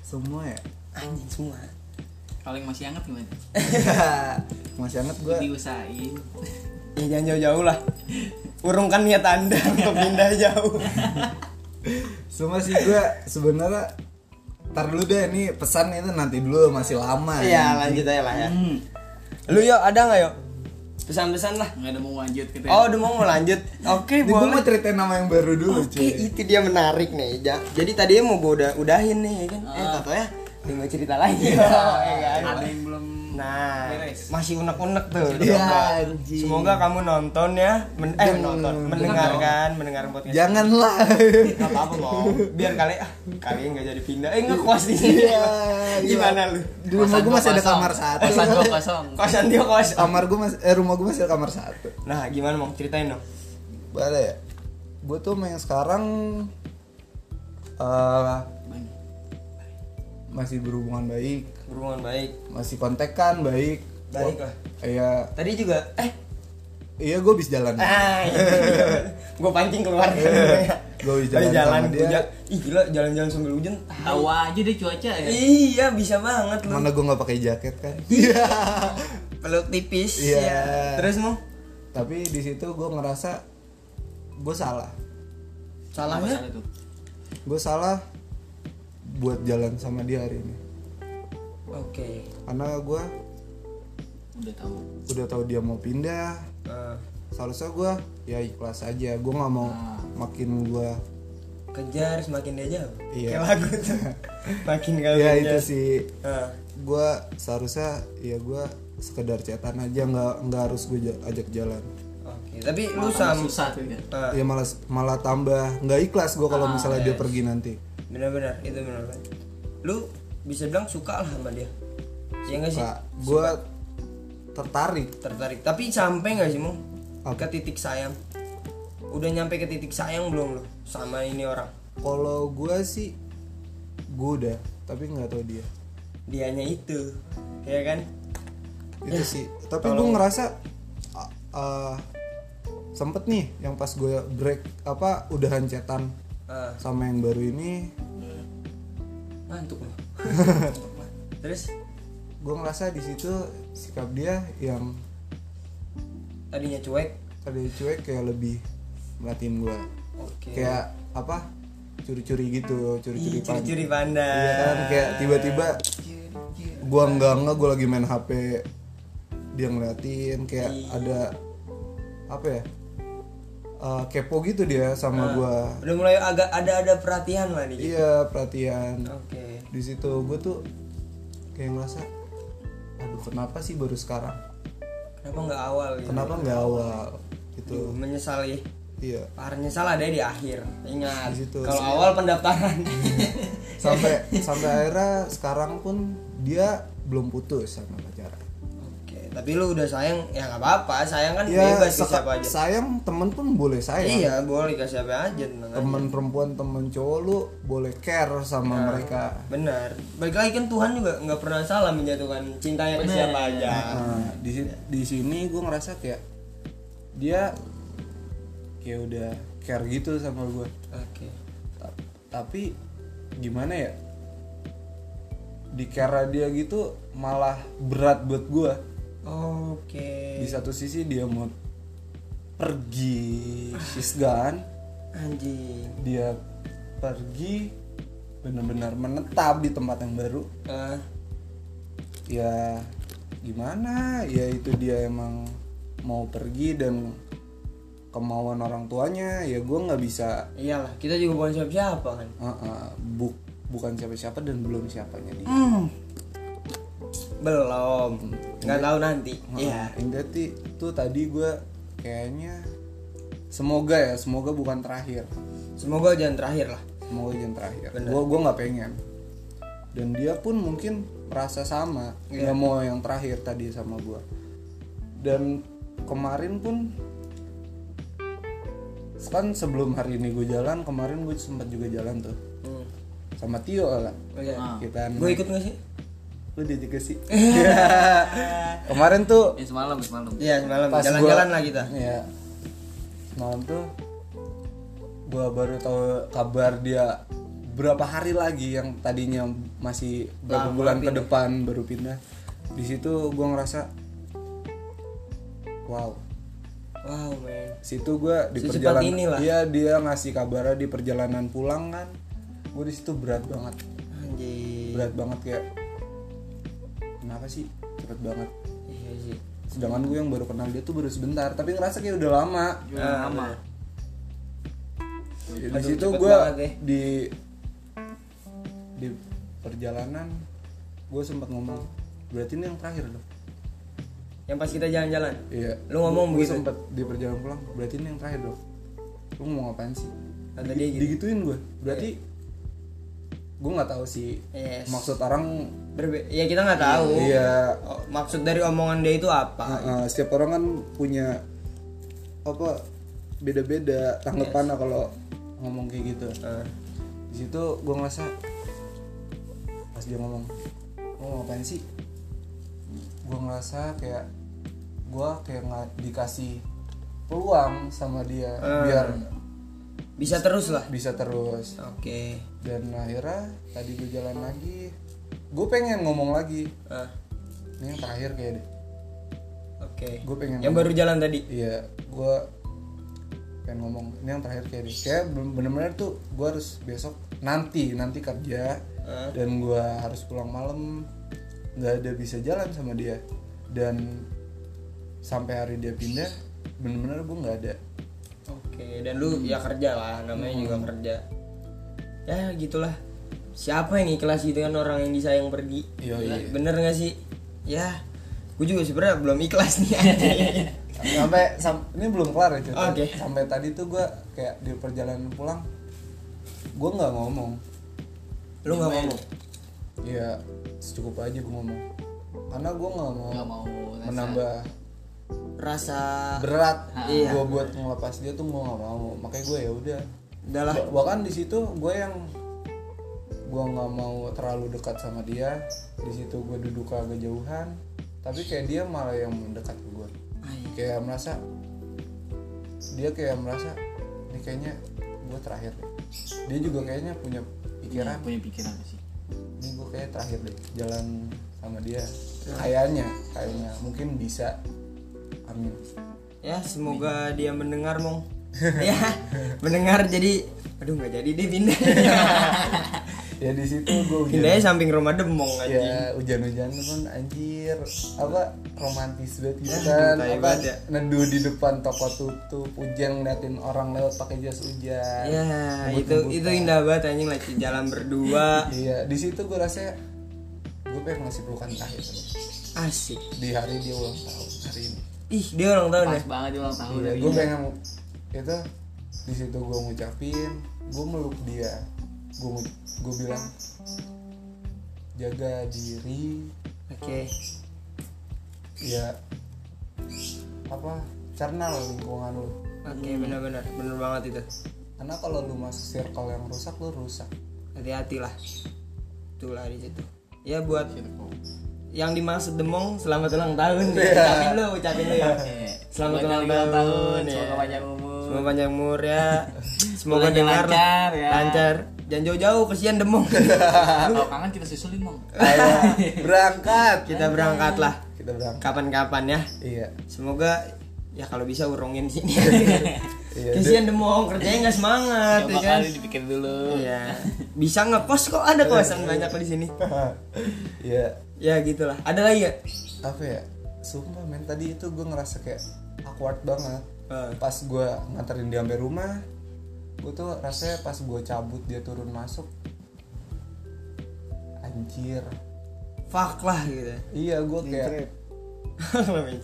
Speaker 2: semua ya.
Speaker 1: Anjing semua.
Speaker 3: paling masih hangat gimana
Speaker 2: Masih anget gue
Speaker 3: diusahain
Speaker 1: Ya jangan jauh-jauh lah. Urungkan niat anda untuk pindah jauh.
Speaker 2: Semua sih gue sebenarnya Ntar dulu deh nih pesan itu nanti dulu masih lama
Speaker 1: Iya lanjut aja lah ya. Lu yo ada nggak yo? Pesan-pesan lah.
Speaker 3: nggak ada mau lanjut gitu ya. kita
Speaker 1: Oh, udah mau mau lanjut. Oke,
Speaker 2: Gue mau
Speaker 1: boleh.
Speaker 2: ceritain nama yang baru dulu
Speaker 1: Oke, iya.
Speaker 2: cuy.
Speaker 1: itu dia menarik nih. Ja- Jadi tadi mau gue udah udahin nih ya kan. Eh, tato ya. Tinggal cerita lagi. Ya kan?
Speaker 3: ada yang belum
Speaker 1: Nah,
Speaker 3: Beres.
Speaker 1: masih unek-unek tuh.
Speaker 2: Iya,
Speaker 1: Semoga-
Speaker 2: anjing.
Speaker 1: Semoga kamu nonton ya, Men- eh
Speaker 2: Jangan.
Speaker 1: nonton, mendengarkan, mendengarkan podcast.
Speaker 2: Janganlah.
Speaker 1: Gak apa-apa mau. Biar kali ah, kali nggak jadi pindah. Eh ngekos di sini.
Speaker 2: Iya,
Speaker 1: Gimana lu?
Speaker 2: Di rumah gue masih ada kamar satu.
Speaker 3: kosan gue kosong
Speaker 1: Kosan dia kos.
Speaker 2: Kamar gue masih eh rumah gue masih ada kamar satu.
Speaker 1: Nah, gimana mau ceritain dong?
Speaker 2: Boleh ya? Gue tuh main sekarang eh, masih berhubungan baik,
Speaker 1: Berhubungan baik.
Speaker 2: masih kontekan baik.
Speaker 1: Baik lah.
Speaker 2: Iya,
Speaker 1: Tadi juga eh
Speaker 2: iya gue bisa jalan.
Speaker 1: Ah, gue pancing keluar.
Speaker 2: Iya, Gua
Speaker 1: gue
Speaker 2: habis jalan
Speaker 1: jalan
Speaker 2: sama dia.
Speaker 1: hujan. Ih gila jalan-jalan sambil hujan.
Speaker 3: tawa aja deh cuaca ya
Speaker 1: Iya bisa banget lu.
Speaker 2: Mana gue nggak pakai jaket kan? Iya.
Speaker 1: Peluk tipis.
Speaker 2: Iya.
Speaker 1: Terus mau
Speaker 2: Tapi di situ gue ngerasa gue salah.
Speaker 1: salahnya?
Speaker 3: Salah tuh.
Speaker 2: Gue salah buat jalan sama dia hari ini.
Speaker 1: Oke.
Speaker 2: Karena gue
Speaker 3: udah tahu
Speaker 2: udah tahu dia mau pindah,
Speaker 1: Eh,
Speaker 2: seharusnya gue ya ikhlas aja gue nggak mau
Speaker 1: Ah.
Speaker 2: makin gue
Speaker 1: kejar semakin dia jauh.
Speaker 2: Iya.
Speaker 1: Kayak lagu tuh. Makin kau
Speaker 2: ya itu
Speaker 1: kejar.
Speaker 2: sih
Speaker 1: Eh,
Speaker 2: gue seharusnya ya gue sekedar cetan aja nggak nggak harus gue ajak jalan
Speaker 1: Oke. Tapi lu
Speaker 3: Makan
Speaker 1: sama.
Speaker 3: susah tuh ya
Speaker 1: Eh,
Speaker 2: ya malah malah tambah nggak ikhlas gue
Speaker 1: Ah,
Speaker 2: kalau misalnya
Speaker 1: iya,
Speaker 2: dia pergi nanti
Speaker 1: benar-benar itu benar. Lu bisa bilang suka lah sama dia. Iya nggak sih?
Speaker 2: pak gue tertarik
Speaker 1: Tertarik. Tapi sampai nggak sih mau? Ke
Speaker 2: Apa?
Speaker 1: titik sayang. udah nyampe ke titik sayang belum lu sama ini orang
Speaker 2: Kalau gue sih gue udah, tapi nggak tahu dia.
Speaker 1: dianya itu ya kan
Speaker 2: Itu sih. Tapi gue ngerasa a- ah, sempet nih yang pas gue break apa udahan cetan
Speaker 1: Ah,
Speaker 2: sama yang baru ini
Speaker 1: ngantuk loh terus
Speaker 2: gue ngerasa di situ sikap dia yang
Speaker 1: tadinya cuek
Speaker 2: tadi cuek kayak lebih melatihin gue
Speaker 1: oke
Speaker 2: kayak apa curi-curi gitu curi-curi
Speaker 1: Ih, curi-curi
Speaker 2: pan-
Speaker 1: pandang
Speaker 2: Iya kan kayak tiba-tiba gua enggak enggak gua lagi main HP dia ngeliatin kayak
Speaker 1: Iya.
Speaker 2: ada apa ya eh, kepo gitu dia
Speaker 1: Nah.
Speaker 2: sama gua
Speaker 1: udah mulai agak ada ada perhatian lah nih
Speaker 2: iya perhatian
Speaker 1: oke
Speaker 2: di situ gua tuh kayak ngerasa aduh kenapa sih baru sekarang
Speaker 1: kenapa nggak awal gitu?
Speaker 2: kenapa nggak awal
Speaker 1: Aduh,
Speaker 2: gitu
Speaker 1: menyesali
Speaker 2: iya
Speaker 1: parah nyesal ada di akhir ingat
Speaker 2: Di situ.
Speaker 1: kalau awal pendaftaran
Speaker 2: Iya. sampai sampai akhirnya sekarang pun dia belum putus sama pacaran
Speaker 1: oke tapi lu udah sayang ya nggak apa-apa sayang kan
Speaker 2: ya
Speaker 1: bebas ke
Speaker 2: seka-
Speaker 1: siapa aja
Speaker 2: sayang temen pun boleh sayang
Speaker 1: iya boleh ke siapa aja tenang aja.
Speaker 2: temen perempuan temen cowok lu boleh care sama mereka
Speaker 1: benar balik lagi kan Tuhan juga nggak pernah salah menjatuhkan cintanya ke siapa aja
Speaker 2: nah di si- di sini gue ngerasa kayak dia kayak udah care gitu sama gue
Speaker 1: oke
Speaker 2: tapi gimana ya di care dia gitu malah berat buat gue
Speaker 1: oke
Speaker 2: di satu sisi dia mau pergi she's gone
Speaker 1: anjing
Speaker 2: dia pergi benar-benar menetap di tempat yang baru
Speaker 1: Eh,
Speaker 2: ya gimana ya itu dia emang mau pergi dan kemauan orang tuanya ya gue nggak bisa
Speaker 1: iyalah kita juga bukan siapa-siapa kan
Speaker 2: uh, uh, bu- bukan siapa-siapa dan belum siapanya dia
Speaker 1: Hmm. Belum. Nggak tahu nanti. Iya.
Speaker 2: Iya. Inti itu tadi gue kayaknya semoga ya semoga bukan terakhir
Speaker 1: Semoga jangan terakhir lah.
Speaker 2: semoga yang terakhir
Speaker 1: Bener.
Speaker 2: gue gue nggak pengen dan dia pun mungkin merasa sama nggak mau yang terakhir tadi sama gue dan kemarin pun kan sebelum hari ini gue jalan kemarin gue sempat juga jalan tuh
Speaker 1: Hmm.
Speaker 2: sama Tio lah
Speaker 1: Oh, iya.
Speaker 2: kita
Speaker 1: Gue ikut nggak sih?
Speaker 2: lu dia juga sih Ya. kemarin tuh
Speaker 3: Ya semalam, ya semalam.
Speaker 1: Iya semalam.
Speaker 2: Pas
Speaker 1: Jalan-jalan
Speaker 2: gua-
Speaker 1: lah kita.
Speaker 2: Iya. Malam tuh gua baru tahu kabar dia berapa hari lagi yang tadinya masih berapa bulan ke depan baru pindah. Di situ gua ngerasa wow.
Speaker 1: Wow men.
Speaker 2: Situ gua di
Speaker 1: Secepat
Speaker 2: perjalanan
Speaker 1: inilah.
Speaker 2: Iya, dia ngasih kabarnya di perjalanan pulang kan. Gua di situ berat banget.
Speaker 1: Anjing.
Speaker 2: Berat banget kayak kenapa sih cepet banget
Speaker 1: Iya sih.
Speaker 2: sedangkan gue yang baru kenal dia tuh baru sebentar tapi ngerasa kayak udah lama
Speaker 1: Nah, nah.
Speaker 2: Ya, di
Speaker 1: Aduh, Iya,
Speaker 2: situ
Speaker 1: cepet
Speaker 2: gue
Speaker 1: banget ya.
Speaker 2: di di perjalanan gue sempat ngomong berarti ini yang terakhir loh
Speaker 1: Yang pas kita jalan-jalan.
Speaker 2: iya
Speaker 1: Lu ngomong
Speaker 2: gue
Speaker 1: begitu?
Speaker 2: sempat di perjalanan pulang berarti ini yang terakhir loh lu mau ngapain sih
Speaker 1: Kata dia gitu. Iya.
Speaker 2: digituin gue berarti gue nggak tahu sih
Speaker 1: Yes.
Speaker 2: maksud orang
Speaker 1: Berbe- ya kita nggak tahu.
Speaker 2: iya
Speaker 1: Oh, Maksud dari omongan dia itu apa?
Speaker 2: Nah, eh, setiap orang kan punya apa beda-beda tanggapan lah kalau ngomong kayak gitu. Di situ gue ngerasa pas dia ngomong, "Lo ngapain sih?" Gue ngerasa kayak gue kayak nggak dikasih peluang sama dia biar
Speaker 1: Bisa terus lah.
Speaker 2: bisa terus
Speaker 1: Oke.
Speaker 2: dan akhirnya tadi gue jalan lagi gue pengen ngomong lagi
Speaker 1: Ah,
Speaker 2: ini yang terakhir kayak deh
Speaker 1: Oke.
Speaker 2: gue pengen
Speaker 1: Yang baru jalan tadi.
Speaker 2: iya gue pengen ngomong ini yang terakhir kayak deh kayak ben- bener-bener tuh gue harus besok nanti nanti kerja
Speaker 1: Ah.
Speaker 2: dan gue harus pulang malam nggak ada bisa jalan sama dia dan sampai hari dia pindah bener-bener gue nggak ada
Speaker 1: Oke, dan lu ya kerja lah, namanya juga
Speaker 2: Hmm.
Speaker 1: kerja. Ya gitulah. Siapa yang ikhlas gitu kan orang yang disayang pergi?
Speaker 2: Iya,
Speaker 1: Ya,
Speaker 2: iya.
Speaker 1: Bener gak sih? Ya, gue juga sebenarnya belum ikhlas nih. anjing.
Speaker 2: sampai sam- ini belum kelar ya cerita
Speaker 1: Oke.
Speaker 2: sampai tadi tuh gue kayak di perjalanan pulang gue nggak ngomong
Speaker 1: lu nggak ngomong?
Speaker 2: ya cukup aja gue ngomong karena gue nggak mau
Speaker 3: Nggak mau ngasih.
Speaker 2: menambah
Speaker 1: rasa
Speaker 2: berat
Speaker 1: Iya.
Speaker 2: gue buat ngelepas dia tuh gue nggak mau makanya gue ya udah
Speaker 1: adalah
Speaker 2: Bah- bahkan di situ gue yang gue nggak mau terlalu dekat sama dia di situ gue duduk agak jauhan tapi kayak dia malah yang mendekat ke gue kayak merasa dia kayak merasa ini kayaknya gue terakhir deh." dia juga kayaknya punya pikiran
Speaker 3: punya pikiran apa sih
Speaker 2: ini gue kayak terakhir deh jalan sama dia kayaknya kayaknya mungkin bisa amin
Speaker 1: ya semoga dia mendengar mong ya mendengar jadi aduh nggak jadi deh pindah
Speaker 2: ya di situ gue udah
Speaker 1: pindahnya samping rumah demong anjing
Speaker 2: ya hujan-hujan tuh kan anjir apa romantis banget gitu
Speaker 1: Ah,
Speaker 2: kan
Speaker 1: tai
Speaker 2: apa
Speaker 1: banget ya.
Speaker 2: neduh di depan toko tutup hujan ngeliatin orang lewat pakai jas hujan
Speaker 1: ya itu itu
Speaker 2: Ngebut-ngebutan.
Speaker 1: indah banget anjing lagi jalan berdua
Speaker 2: iya di situ gue rasanya gue pengen ngasih pelukan terakhir sama dia.
Speaker 1: asik
Speaker 2: di hari dia ulang tahun hari ini
Speaker 1: ih dia orang tahun ya
Speaker 3: pas banget ulang tahun
Speaker 2: iya,
Speaker 3: dari
Speaker 2: gue pengen itu di situ gue ngucapin gue meluk dia gue gue bilang jaga diri
Speaker 1: oke
Speaker 2: ya apa cerna lo lingkungan lo
Speaker 1: oke benar-benar benar banget itu
Speaker 2: karena kalau lu masuk circle yang rusak lu rusak
Speaker 1: hati-hati lah itulah di situ ya buat yang dimaksud demong selamat ulang tahun
Speaker 2: Iya.
Speaker 1: ucapin lu ucapin lu ya
Speaker 3: Iya.
Speaker 1: selamat
Speaker 3: Semoga
Speaker 1: ulang
Speaker 3: ulang
Speaker 1: tahun ya.
Speaker 3: semoga panjang umur
Speaker 1: Semoga panjang umur ya. Semoga
Speaker 3: Sekolahnya
Speaker 1: dengar lah.
Speaker 3: lancar ya. Iya.
Speaker 1: Lancar. Jangan jauh-jauh kesian demong.
Speaker 3: kalau kangen kita susulin mong
Speaker 2: Ayo, berangkat
Speaker 1: Kita berangkat lah
Speaker 2: kita berangkat
Speaker 1: kapan-kapan ya.
Speaker 2: Gitu iya
Speaker 1: Semoga ya kalau bisa urungin sini.
Speaker 2: Iya,
Speaker 1: kesian demong kerjanya nggak semangat ya
Speaker 3: coba
Speaker 1: kan.
Speaker 3: kali dipikir dulu
Speaker 1: Iya. Bisa ngekos kok ada kosan banyak di sini.
Speaker 2: iya
Speaker 1: Ya gitulah. Ada lagi ya?
Speaker 2: apa ya sumpah men tadi itu gue ngerasa kayak awkward banget
Speaker 1: Eh.
Speaker 2: pas gue nganterin dia sampai rumah gue tuh rasanya pas gue cabut dia turun masuk anjir
Speaker 1: Fuck lah gitu.
Speaker 2: iya gue kayak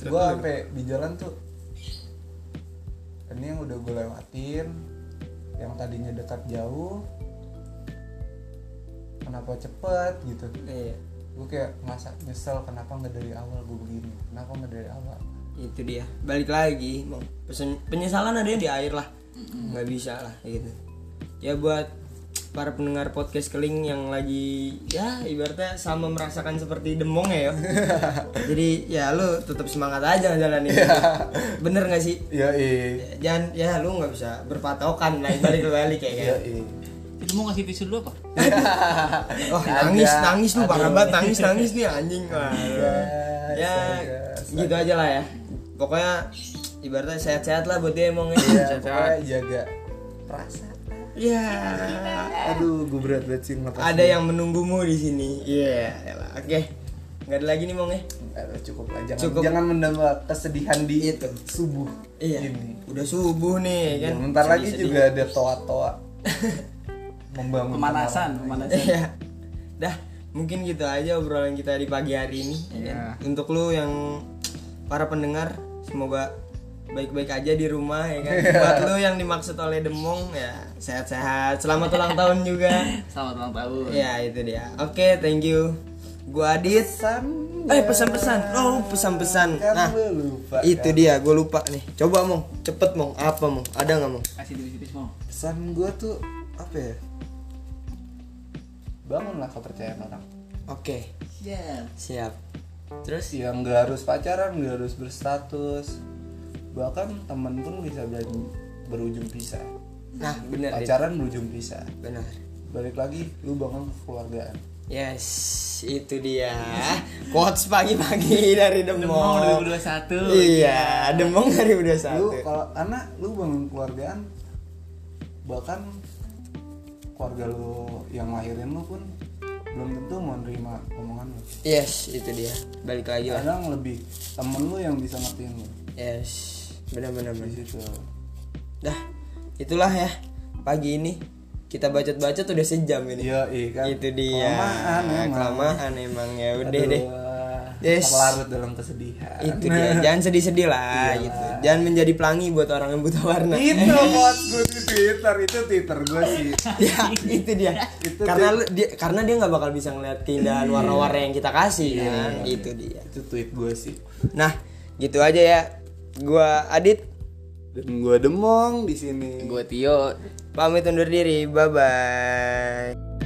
Speaker 2: gue sampai di jalan tuh ini yang udah gue lewatin yang tadinya dekat jauh kenapa cepet gitu
Speaker 1: Iya.
Speaker 2: gue kayak masa nyesel kenapa nggak dari awal gue begini kenapa nggak dari awal
Speaker 1: itu dia balik lagi Bang. Pesen- penyesalan ada di air lah nggak bisa lah gitu ya buat para pendengar podcast keling yang lagi ya ibaratnya sama merasakan seperti demong ya yo. jadi ya lu tetap semangat aja ngejalanin bener nggak sih
Speaker 2: iya iya
Speaker 1: jangan ya lu nggak bisa berpatokan lah balik balik ya
Speaker 2: Iya.
Speaker 1: kan
Speaker 3: kita mau ngasih tisu dulu apa
Speaker 1: oh nangis
Speaker 2: Ada.
Speaker 1: nangis lu parah banget nangis nangis nih anjing Wah, ya gitu aja lah ya pokoknya ibaratnya sehat-sehat lah buat dia emang
Speaker 2: iya pokoknya jaga perasaan Iya.
Speaker 1: Ya,
Speaker 2: aduh gue berat banget sih ngelepas
Speaker 1: ada yang menunggumu di sini. Iya, elah. oke. Nggak ada lagi nih mong ya?
Speaker 2: Aduh, cukup lah jangan
Speaker 1: Cukup.
Speaker 2: jangan menambah kesedihan di itu subuh
Speaker 1: Iya.
Speaker 2: ini
Speaker 1: Udah subuh nih kan.
Speaker 2: Iya, Bentar Ya, lagi
Speaker 1: Sedih-sedih.
Speaker 2: juga ada toa-toa membangun
Speaker 3: pemanasan pemanasan
Speaker 1: Iya. Dah, mungkin gitu aja obrolan kita di pagi hari ini. ya
Speaker 2: Iya.
Speaker 1: kan? Untuk lu yang para pendengar, semoga baik-baik aja di rumah ya kan.
Speaker 2: Iya.
Speaker 1: Buat lu yang dimaksud oleh demong ya sehat-sehat. Selamat ulang tahun juga.
Speaker 3: selamat ulang tahun
Speaker 1: Ya, itu dia. Oke, thank you. Gua Adit. Eh pesan-pesan, oh pesan-pesan. Nah,
Speaker 2: Kan lu lupa
Speaker 1: itu dia, gue lupa nih. Coba mong, cepet mong, apa mong? Ada nggak mong?
Speaker 3: kasih tipis-tipis mong
Speaker 2: pesan gue tuh apa ya bangunlah kepercayaan orang
Speaker 1: Oke,
Speaker 3: siap
Speaker 1: siap.
Speaker 2: terus ya nggak harus pacaran nggak harus berstatus bahkan temen pun bisa ber- berujung pisah
Speaker 1: Nah, benar deh.
Speaker 2: pacaran berujung pisah
Speaker 1: Benar.
Speaker 2: balik lagi lu bangun kekeluargaan
Speaker 1: Yes, itu dia. Quotes pagi-pagi dari
Speaker 3: Demong
Speaker 1: Demong.
Speaker 3: 2021
Speaker 1: Iya, Demong dari udah satu.
Speaker 2: lu kalau anak lu bangun keluargaan bahkan keluarga lu yang lahirin lu pun belum tentu mau nerima omongan lu
Speaker 1: Yes, itu dia. Balik lagi lah.
Speaker 2: kadang lebih temen lu yang bisa ngertiin lu
Speaker 1: Yes, benar-benar.
Speaker 2: di
Speaker 1: benar.
Speaker 2: situ
Speaker 1: Dah, itulah ya pagi ini kita bacot-bacot udah sejam ini.
Speaker 2: iya iya kan
Speaker 1: Itu dia.
Speaker 2: kelamaan emang
Speaker 1: Kelamaan emang ya udah
Speaker 2: Aduh,
Speaker 1: deh. Yes.
Speaker 2: terlarut dalam kesedihan
Speaker 1: Itu
Speaker 2: Nah.
Speaker 1: dia. Jangan sedih-sedih lah gitu. Jangan menjadi pelangi buat orang yang buta warna.
Speaker 2: Iya. itu buat gue di twitter itu twitter gue sih
Speaker 1: ya, itu dia.
Speaker 2: Itu Iya.
Speaker 1: karena lu- dia karena dia nggak bakal bisa ngeliat keindahan warna-warna yang kita kasih kan. Itu Gitu dia.
Speaker 2: itu tweet gue sih
Speaker 1: Nah, gitu aja ya. Gua Adit
Speaker 2: dan gua demong di sini
Speaker 3: Gue Tio
Speaker 1: pamit undur diri. Bye bye.